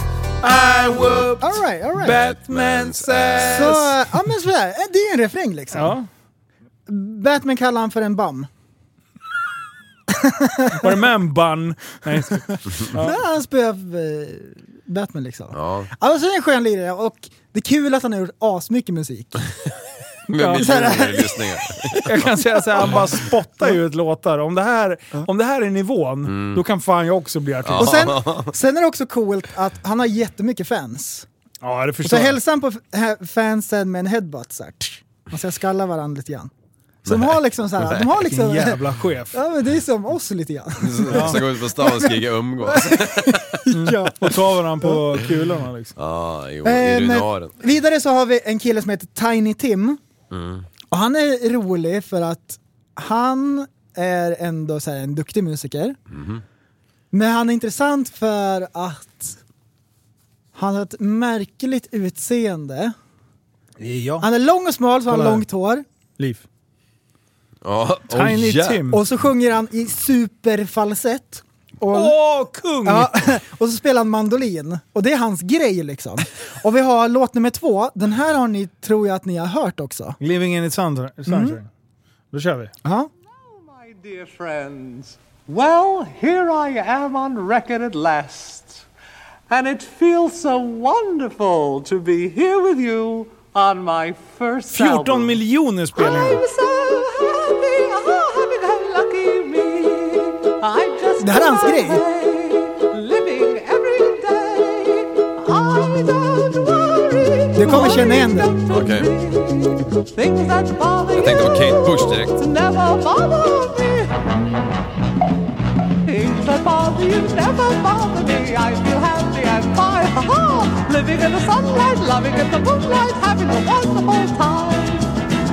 L: I whooped
G: All right, all right.
L: Batman's ass.
G: Så, ja men sådär, det är ju en refräng liksom. Batman kallar han för en bam.
F: Var det med en bun? Nej, jag skojar.
G: Nej,
F: ja.
G: Han spöar eh, Batman liksom.
H: Ja.
G: Alltså det är en skön lirare och det är kul att han har gjort asmycket musik.
H: Med
G: Ja.
H: miljoner lyssningar.
F: Jag kan säga såhär, han bara spottar ju ut låtar. Om det här, om det här är nivån, då kan fan jag också bli artist.
G: Och sen, sen är det också coolt att han har jättemycket fans.
F: ja, det
G: Och så
F: förstår jag.
G: hälsar han på f- hä- fansen med en headbutt såhär. Man ska skalla varandra lite grann. Så de har liksom såhär, de har liksom...
F: Vilken jävla chef.
G: Ja men det är som oss lite grann.
H: Så- Så går ut på stan och skriker umgås.
F: Och tar varandra på kulorna liksom.
M: Ja, jo, i
G: Men,
M: runaren.
G: Ehm, vidare så har vi en kille som heter Tiny Tim.
M: Mm.
G: Och han är rolig för att han är ändå så här en duktig musiker.
F: Mm-hmm.
G: Men han är intressant för att han har ett märkligt utseende. Han är lång och smal så har han
F: Kolla här.
G: långt hår.
F: Liv.
H: Ja,
F: Tiny
H: oh, yeah.
F: Tim.
G: Och så sjunger han i superfalsett. Och-
F: Åh, kung!
G: Ja, och så spelar han mandolin. Och det är hans grej liksom. Och vi har låt nummer två. Den här har ni, tror jag att ni har hört också.
F: Living in the sun- sunshine.
G: Mm.
F: Då kör vi.
G: Ja.
R: dear friends. Well, here I am on record at last, and it feels so wonderful to be here with you on my first
F: 14
R: album.
F: miljoner spelningar.
R: I'm so happy, oh, happy go lucky me. I'm just
F: Det här är hans grej.
R: living every day. I don't worry.
G: Du kommer känna igen den.
H: Okej.
R: Things that bother
H: Jag tänkte på Kate Bush direkt.
R: you never bother me. Things that bother you never bother me. I feel happy and fine. Ha ha! Living in the sunlight, loving in the moonlight, having a wonderful time.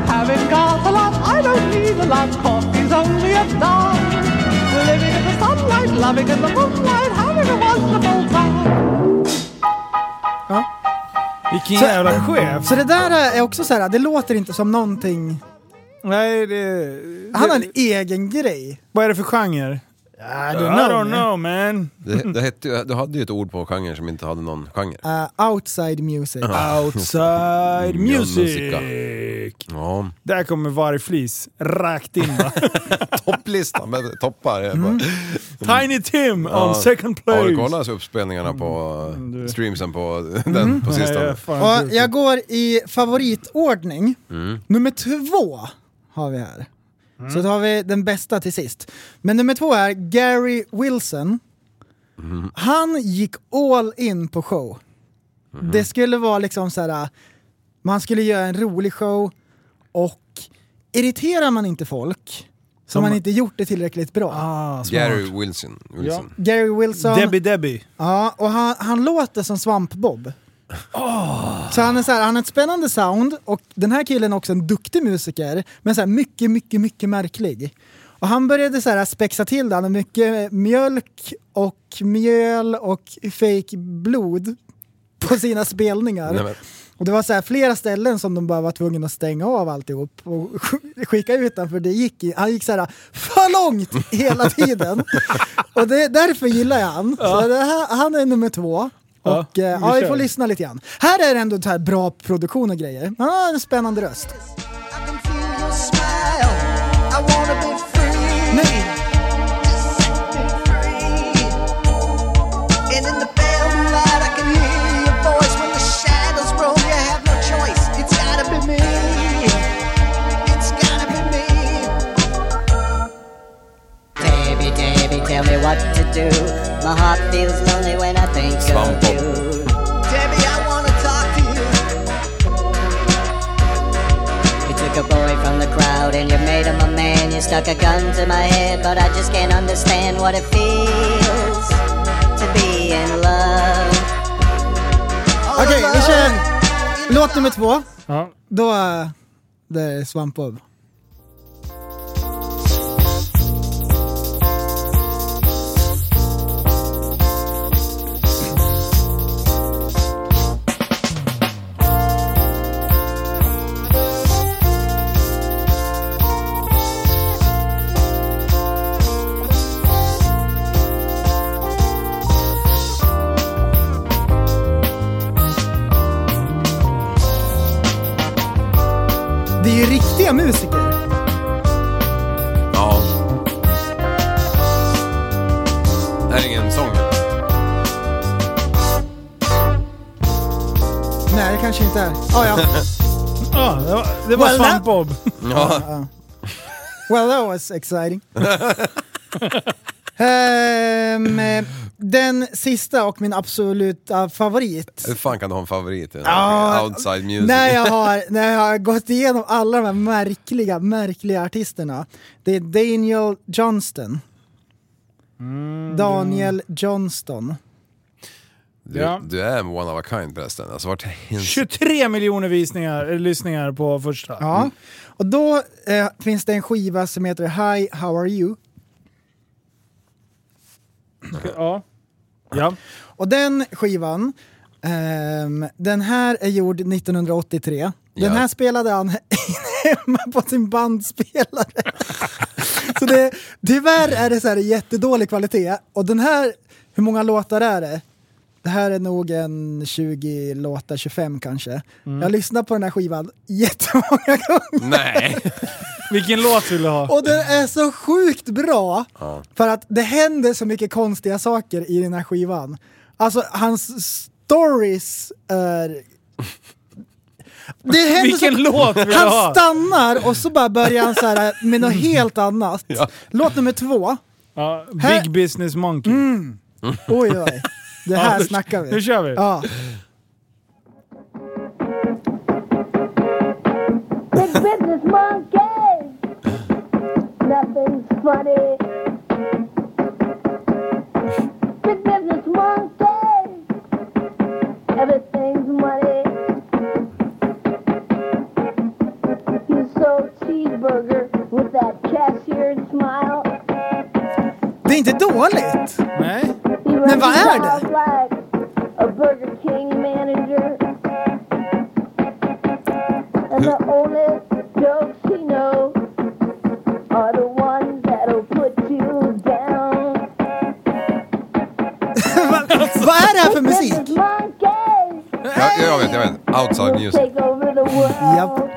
R: Having got a lot, I don't need a lot. Coffee's only a dime. Living in the sunlight, loving in the moonlight, having a wonderful time.
F: Vilken jävla chef.
G: Så det där är också så här, det låter inte som någonting...
F: Nej, det...
G: Han har en egen grej.
F: Vad är det för genre? I
G: don't
F: I
G: know.
F: don't know man.
H: Det, det hette, ju- du hade ju ett ord på genren som inte hade någon genre.
G: Eh, outside music.
H: Ja.
F: Outside
H: Mm, ja,
F: music.
H: musika. Ja.
F: Där kommer vargflis rakt in va?
H: Topplistan med toppar. jag bara-
F: Tiny Tim
H: Mm. Ja.
F: on second place.
H: Har du kollat uppspelningarna på streamsen på den på sistone?
G: Uh, Och jag går i favoritordning.
H: Mm.
G: Nummer två har vi här. Så tar vi den bästa till sist. Men nummer två är Gary Wilson.
H: Mm.
G: Han gick all in på show.
H: Mm-hmm.
G: Det skulle vara liksom så här. man skulle göra en rolig show och irriterar man inte folk så har man inte gjort det tillräckligt bra.
H: Gary Wilson. Wilson.
G: Gary Wilson.
F: Ah, Debbie Debbie.
G: Ja, och han, han låter som Svamp-Bob. Så han är så här, han har ett spännande sound och den här killen är också en duktig musiker men så här mycket, mycket, mycket märklig. Och han började så här spexa till det, han har mycket mjölk och mjöl och fake blod på sina spelningar.
H: Nej, men-
G: Och det var så här flera ställen som de bara var tvungna att stänga av alltihop och skicka ut den för det gick, i- han gick så här för långt hela tiden. och det, därför gillar jag han. Så det här, han är nummer två.
F: Ja,
G: Och, eh,
F: vi
G: ja, vi
F: kör.
G: får lyssna lite grann. Här är det ändå så här bra produktion och grejer. Han har en spännande röst.
P: I wanna be free. And in the pale moonlight, I can hear your voice. When the shadows roll, you have no choice. It's gotta be me. It's gotta be me.
U: Baby, baby, tell me what to do. My heart feels lonely when I think of you.
P: Debbie, I wanna talk to you.
U: You took a boy from the crowd and you made him a man. You stuck a gun to my head, but I just can't understand what it feels to be in love.
G: Okej, vi kör låt nummer två.
F: Ja.
G: Då eh, det är Swamp Bob. musiker.
H: Ja. Det här är ingen sång.
G: Nej, det kanske inte är. Ah, ja.
F: Ja, Ah, det var, det var
G: Well,
F: Svamp
G: that-
F: Bob.
G: Ja. Well, that was exciting. Ehm, eh, den sista och min absoluta favorit.
H: Hur fan kan du ha en favorit?
G: Ja,
H: Outside music.
G: När jag, har, när jag har gått igenom alla de här märkliga, märkliga artisterna. Det är Daniel Johnston. Daniel Johnston.
H: Du,
F: Ja.
H: du är one of a kind förresten. Alltså, vart hens...
F: 23 miljoner visningar, eller lyssningar på första.
G: Ja. Och då eh, finns det en skiva som heter Hi, How Are You?
F: Ja. ja.
G: Och den skivan, ehm, den här är gjord 1983. Den
F: Ja.
G: här spelade han hemma på sin bandspelare. så det, tyvärr är det så här jättedålig kvalitet. Och den här, hur många låtar är det? Det här är nog en 20 låtar, 25 kanske.
F: Mm.
G: Jag lyssnar på den här skivan jättemånga gånger.
H: Nej.
F: Vilken låt vill du ha?
G: Och den är så sjukt bra! För att det händer så mycket konstiga saker i den här skivan. Alltså hans stories är... Det händer
F: Vilken
G: så...
F: låt vill du
G: Han
F: ha?
G: stannar och så bara börjar han så här med något helt annat. Låt nummer två.
F: Ja, Big
G: Här-
F: Business Monkey.
G: Oj oj. Det
F: Ja,
G: här
F: nu-
G: snackar vi.
F: nu kör vi.
G: Ja.
B: Big business monkey. Nothing's funny. Big business monkey. Everything's money. You so cheeseburger with that cashier smile.
G: Det är inte dåligt!
F: Nej. Alltså.
B: You
G: Men vad är
B: run
G: det?
B: your mouth Like a Burger King manager. And the only jokes he knows are the ones that'll put you down.
G: Vad är det här för musik?
H: Ja, jag vet, jag vet. Outside music.
B: Take over the world.
G: Japp.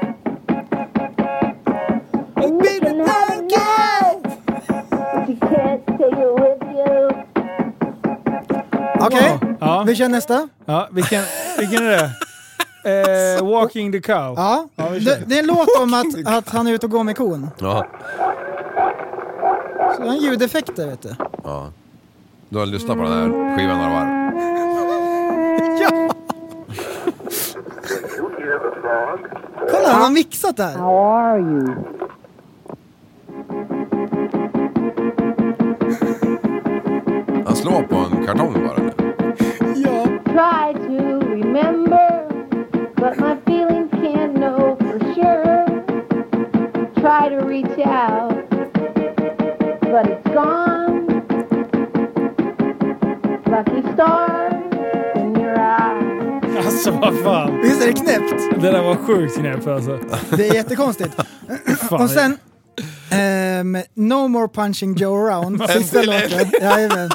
B: And you can have it now, but you can't take it with you.
G: Okej, vi kör nästa.
F: Ja, vilken, vilken är det? Eh, walking the cow.
G: Ja.
F: vi kör.
G: Det, det är en låt om att, att han är ute och går med kon.
H: Ja.
G: Så det är en ljudeffekter vet du.
H: ja. Du har lyssnat på den här skivan några varv.
G: Ja! Kolla, han har mixat där. How are you?
H: Han slår på en kartong bara.
B: Try to remember, but my feelings can't know for sure. Try to reach out, but it's gone. Lucky stars in your eyes.
F: Alltså vad fan.
G: Visst är det knäppt?
F: Det där var sjukt knäppt alltså.
G: Det är jättekonstigt.
F: Fan.
G: Och sen, ehm, No more punching Joe around, sista låten. Jajamän.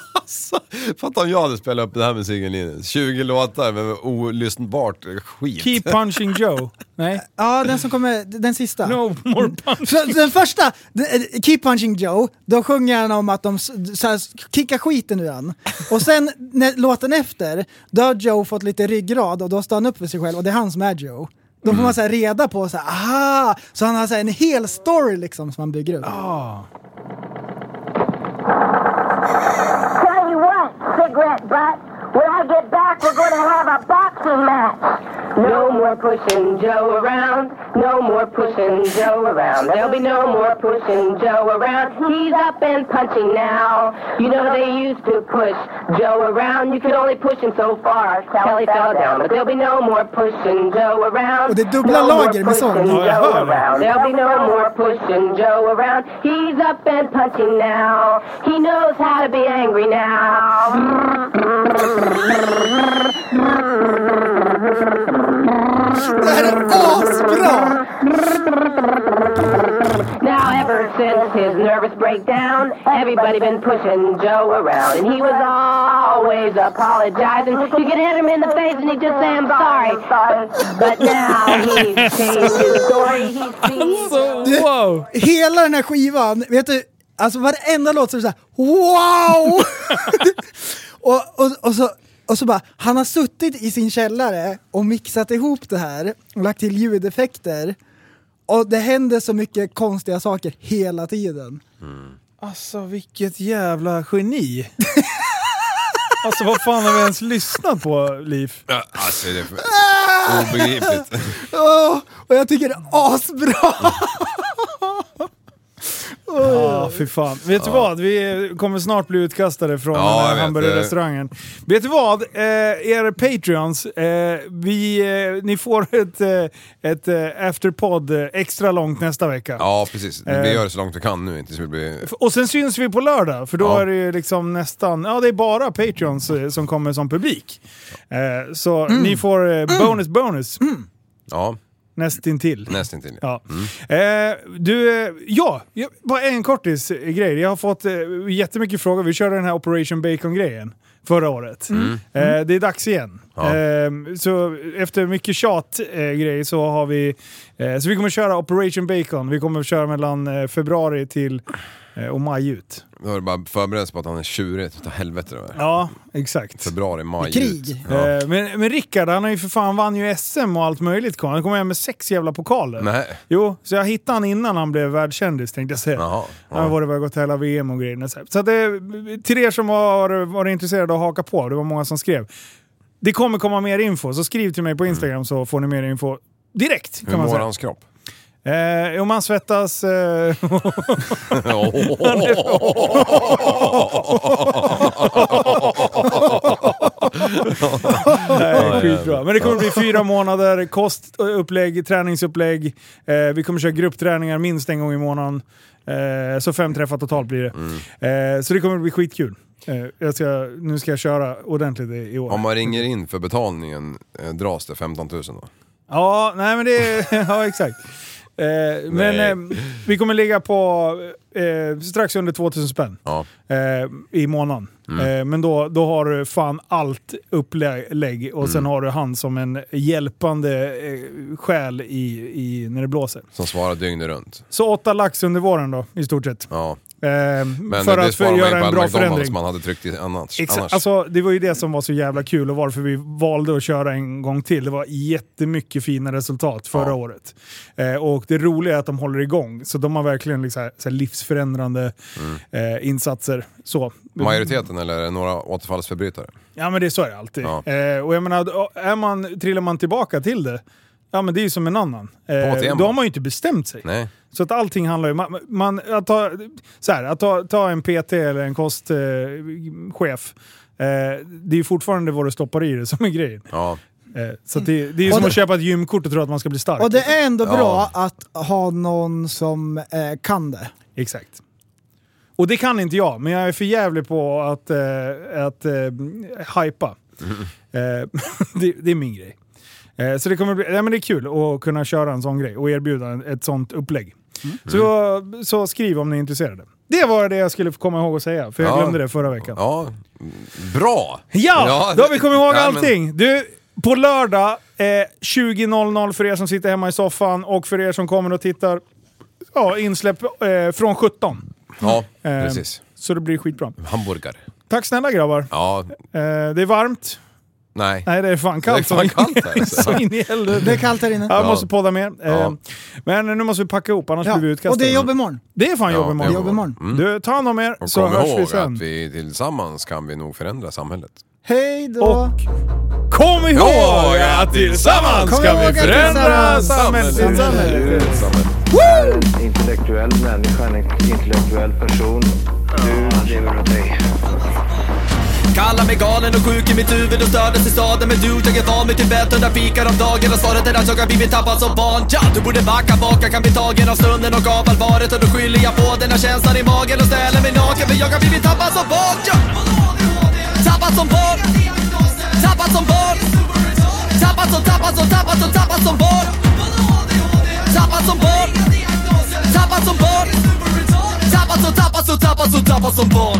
H: Fatta om jag hade spelat upp den här musiken Linus. 20 låtar med olyssnbart skit.
F: Keep punching Joe. Nej.
G: Ja, den som kommer, den sista.
F: No more punching.
G: Den första, eh, Keep punching Joe, då sjunger han om att de s- så här, kickar skiten ur han. Och sen när, låten efter, då har Joe fått lite ryggrad och då står han upp för sig själv och det är han som är Joe. Då
F: Mm.
G: får man så här, reda på så här, aha! Så han har så här, en hel story liksom som han bygger upp.
B: Tell you what, cigarette butt, when I get back, we're going to have a boxing match.
V: No more pushing Joe around. No more pushing Joe around. There'll be no more pushing Joe around. He's up and punching now. You know they used to push Joe around. You could only push him so far. Kelly fell down, but there'll be no more pushing Joe around.
G: Och det är dubbla
V: no more
G: lager med sång.
V: pushing
G: Ja, jag
V: Joe
G: hör det.
V: around. There'll be no more pushing Joe around. He's up and punching now. He knows how to be angry now.
G: Asbra!
V: Now Ever since his nervous breakdown, everybody been pushing Joe around. And he was always apologizing. You could hit him in the face and he'd just say, I'm sorry. But now he's changed his story. He's
G: Du, Hela den här skivan, vet du, alltså varenda låt så är det såhär wow! och, och, och, så, och så bara, han har suttit i sin källare och mixat ihop det här och lagt till ljudeffekter. Och det händer så mycket konstiga saker hela tiden.
F: Alltså vilket jävla geni! alltså vad fan har vi ens lyssnat på, Liv?
H: Ja, alltså det är för- obegripligt.
G: Åh, och jag tycker det är asbra!
F: Ja, fy fan. Vet du
G: Ja.
F: vad? Vi kommer snart bli utkastade från
H: Ja, jag
F: den här
H: vet.
F: hamburgerrestaurangen. Vet du vad? Eh, er Patreons, eh, vi, eh, ni får ett, eh, ett eh, afterpod eh, extra långt nästa vecka.
H: Ja, precis. Vi
F: Eh.
H: gör det så långt vi kan nu, inte så vi blir...
F: Och sen syns vi på lördag, för då
H: Ja.
F: är det ju liksom nästan, ja det är bara Patreons eh, som kommer som publik. Eh, så
G: Mm.
F: ni får eh, bonus bonus.
H: Ja,
F: Nästintill.
H: nästintill.
F: Ja.
H: Mm.
F: Eh, du, eh, ja, jag- bara en kortis eh, grej. Jag har fått eh, jättemycket frågor. Vi körde den här Operation Bacon-grejen förra året.
H: Mm.
F: Eh, det är dags igen.
H: Ja.
F: Eh, så efter mycket tjat eh, grej så har vi... Eh, så vi kommer köra Operation Bacon. Vi kommer köra mellan eh, februari till eh, och maj ut.
H: Då har du bara förberett på att han är tjurig, ta helvete det där.
F: Ja, exakt.
H: Februari, maj,
F: Krig.
H: jut. Ja.
F: Eh, men, men Rickard, han har ju för fan vann ju SM och allt möjligt. kom. Han kom hem med sex jävla pokaler.
H: Nej.
F: Jo, så jag hittade han innan han blev världskändis tänkte jag säga. Han har varit- gått hela VM och grejerna. Så så att det, till er som har varit intresserade av att haka på, det var många som skrev. Det kommer komma mer info, så skriv till mig på Instagram så får ni mer info direkt. Kan
H: Hur
F: man
H: mår
F: säga.
H: hans kropp?
F: Eh, om han svettas... Eh, Nej, skitbra. Men det kommer bli fyra månader, kostupplägg, träningsupplägg. Eh, vi kommer köra gruppträningar minst en gång i månaden. Eh, så fem träffar totalt blir det.
H: Mm.
F: Eh, så det kommer bli skitkul. Eh, jag ska, nu ska jag köra ordentligt i i år.
H: Om man ringer in för betalningen, eh, dras det 15 000 då?
F: Ja, nej men det... ja, exakt. Eh, men eh, vi kommer ligga på eh, strax under 2000 spänn eh, i månaden. Eh, men då, då har du fan allt upplägg och sen har du han som en hjälpande eh, själ i, i, när det blåser.
H: Som svarar dygnet runt.
F: Så åtta lax under våren då, i stort sett.
H: Ja.
F: Eh,
H: Men
F: för
H: det
F: att för,
H: sparar man ju på
F: göra en
H: alla
F: bra
H: McDonald's
F: förändring.
H: man hade tryckt i annars.
F: Exakt.
H: annars.
F: Alltså, det var ju det som var så jävla kul och varför vi valde att köra en gång till. Det var jättemycket fina resultat förra året. Eh, och det roliga är att de håller igång. Så de har verkligen liksom, så här livsförändrande
H: Mm.
F: eh, insatser. Så.
H: Majoriteten eller är det några återfallsförbrytare?
F: Ja men det är så är det alltid.
H: Ja.
F: Eh, och jag menar, är man, trillar man tillbaka till det, ja men det är ju som en annan.
H: På tema.
F: då har man ju inte bestämt sig.
H: Nej.
F: Så att allting handlar ju man, man, att, ta, så här, att ta, ta en PT eller en kostchef, eh, chef, eh, det är ju fortfarande vad du stoppar i det som är grejen.
H: Ja.
F: Eh, så att det, det är ju som
G: Och det-
F: att köpa ett gymkort och tro att man ska bli stark.
G: Och det är ändå bra att ha någon som eh, kan det.
F: Exakt. Och det kan inte jag, men jag är för jävlig på att, eh, att eh, hypa.
G: Mm.
F: Eh, det, det är min grej. Eh, så det kommer bli, nej, men det är kul att kunna köra en sån grej och erbjuda en- ett sånt upplägg.
G: Mm.
F: Så, så skriv om ni är intresserade. Det var det jag skulle komma ihåg att säga, för jag
H: Ja.
F: glömde det förra veckan.
H: Ja, bra!
F: Ja, då har vi kommit ihåg
H: Ja, men-
F: allting. Du, på lördag eh, 20.00 för er som sitter hemma i soffan och för er som kommer och tittar. Ja, insläpp eh, från 17.
H: Ja,
F: Eh,
H: precis.
F: Så det blir skitbra.
H: Hamburgare.
F: Tack snälla grabbar.
H: Ja,
F: Eh, det är varmt.
H: nej.
F: Nej, det är fan kallt.
H: Det är fan kallt här, alltså.
F: Så in i helvete.
G: Det är kallt här inne.
F: Ja, Jag
G: Ja.
F: måste podda mer. Eh,
G: Ja.
F: Men nu måste vi packa ihop, annars
G: Ja,
F: blir vi utkastade.
G: och det är jobb imorgon.
F: Det är fan
H: Ja,
F: jobb
H: det är
F: imorgon.
H: jobb imorgon. Mm.
F: Du, ta hand om er
H: Och
F: så
H: kom
F: hörs
H: ihåg
F: vi sen.
H: att vi tillsammans kan vi nog förändra samhället.
G: Hej då!
F: Kom
H: ihåg att tillsammans
G: Kom ihååg att tillsammans-
A: Du är en intellektuell människa, en intellektuell person. Du lever av dig.
C: Kallar mig galen och sjuk i mitt huvud och stördes i staden Men du, jag är van vid Tibet och där fikar om dagen Och svaret är att jag har blivit tappad som barn ja! Du borde backa bak, jag kan bli tagen av stunden och av allvaret Och då skyller jag på den här känslan i magen och ställer mig naken För jag har blivit tappad som barn ja! Tappad som barn Tappad som barn Tappad som, tappad som, tappad som, tappad som barn Tappad som barn Tappad som barn
B: och tappas och tappas som barn